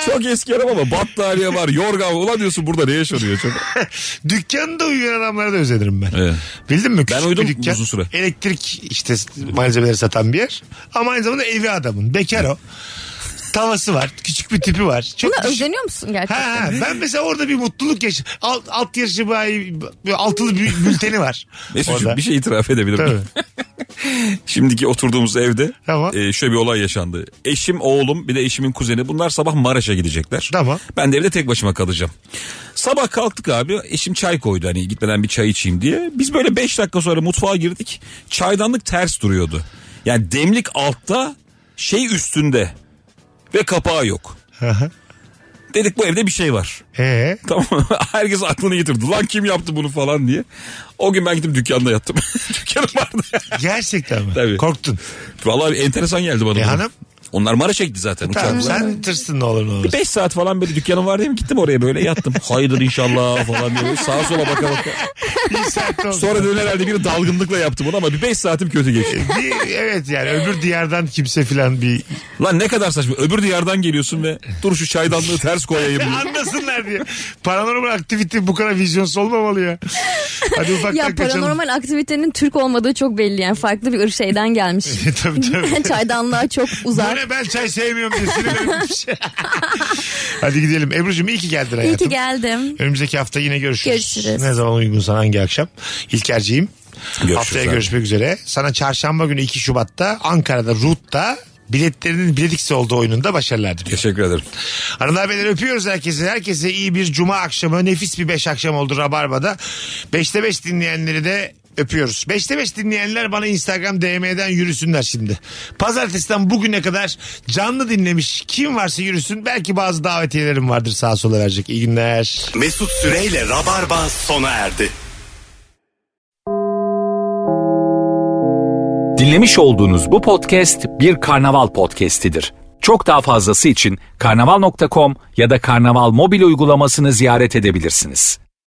C: Çok eski araba ama battaniye var, yorgan var. Ulan diyorsun burada ne yaşanıyor çok.
A: Dükkanda uyuyan adamlara da özenirim ben.
C: Evet.
A: Bildin mi? Küçük bir
C: uyudum
A: dükkan.
C: uzun süre.
A: Elektrik işte malzemeleri satan bir yer. Ama aynı zamanda evi adamın. Bekar o. Tavası var. Küçük bir tipi var. Çok
B: Buna
A: düşük-
B: özeniyor musun
A: şey- Ha,
B: gerçekten?
A: ha, ben mesela orada bir mutluluk yaş alt, alt yarışı bayi bir altılı bü- bülteni var.
C: Mesut'cum
A: orada.
C: bir şey itiraf edebilirim.
A: Tabii.
C: Şimdiki oturduğumuz evde
A: Tamam.
C: e, şöyle bir olay yaşandı. Eşim, oğlum bir de eşimin kuzeni bunlar sabah Maraş'a gidecekler.
A: Tamam.
C: Ben de evde tek başıma kalacağım. Sabah kalktık abi eşim çay koydu hani gitmeden bir çay içeyim diye. Biz böyle 5 dakika sonra mutfağa girdik. Çaydanlık ters duruyordu. Yani demlik altta şey üstünde ve kapağı yok. Dedik bu evde bir şey var.
A: Ee,
C: Tamam mı? Herkes aklını getirdi. Lan kim yaptı bunu falan diye. O gün ben gittim dükkanda yattım. Dükkanım vardı.
A: gerçekten mi?
C: Tabii.
A: Korktun.
C: Vallahi enteresan geldi bana.
A: E
C: bu.
A: hanım? E
C: Onlar Maraş'a gitti zaten
A: Tamam
C: uçakla.
A: sen tırsın ne olur ne olur.
C: 5 saat falan böyle dükkanım var diye mi gittim oraya böyle yattım. Hayırdır inşallah falan diye böyle sağa sola baka baka.
A: Bir saat oldu.
C: Sonra dün herhalde bir dalgınlıkla yaptım bunu ama bir 5 saatim kötü geçti.
A: Bir- evet yani öbür diyardan kimse filan bir
C: Lan ne kadar saçma öbür diyardan geliyorsun ve dur şu çaydanlığı ters koyayım.
A: anlasınlar diye. Paranormal aktivite bu kadar vizyonsuz olmamalı ya. Hadi ufaktan
B: Ya
A: kaçalım.
B: paranormal aktivitenin Türk olmadığı çok belli yani farklı bir ırk şeyden gelmiş.
A: tabii tabii.
B: Çaydanlığa çok
A: Bu
B: uzak.
A: ne ben çay sevmiyorum diye sinirlenmiş. Hadi gidelim. Ebru'cum iyi ki geldin hayatım.
B: İyi ki geldim.
A: Önümüzdeki hafta yine görüşürüz.
B: Görüşürüz.
A: Ne zaman uygun sana hangi akşam? İlker'ciğim.
C: Görüşürüz
A: Haftaya
C: abi.
A: görüşmek üzere. Sana çarşamba günü 2 Şubat'ta Ankara'da RUT'ta biletlerinin biletiksi olduğu oyununda başarılar diliyorum.
C: Teşekkür ederim.
A: Hanımlar beyler öpüyoruz herkese. Herkese iyi bir cuma akşamı. Nefis bir beş akşam oldu Rabarba'da. Beşte beş dinleyenleri de öpüyoruz. Beşte beş dinleyenler bana Instagram DM'den yürüsünler şimdi. Pazartesiden bugüne kadar canlı dinlemiş kim varsa yürüsün. Belki bazı davetiyelerim vardır sağa sola verecek. İyi günler.
G: Mesut Süreyle Rabarba sona erdi.
K: Dinlemiş olduğunuz bu podcast bir karnaval podcastidir. Çok daha fazlası için karnaval.com ya da karnaval mobil uygulamasını ziyaret edebilirsiniz.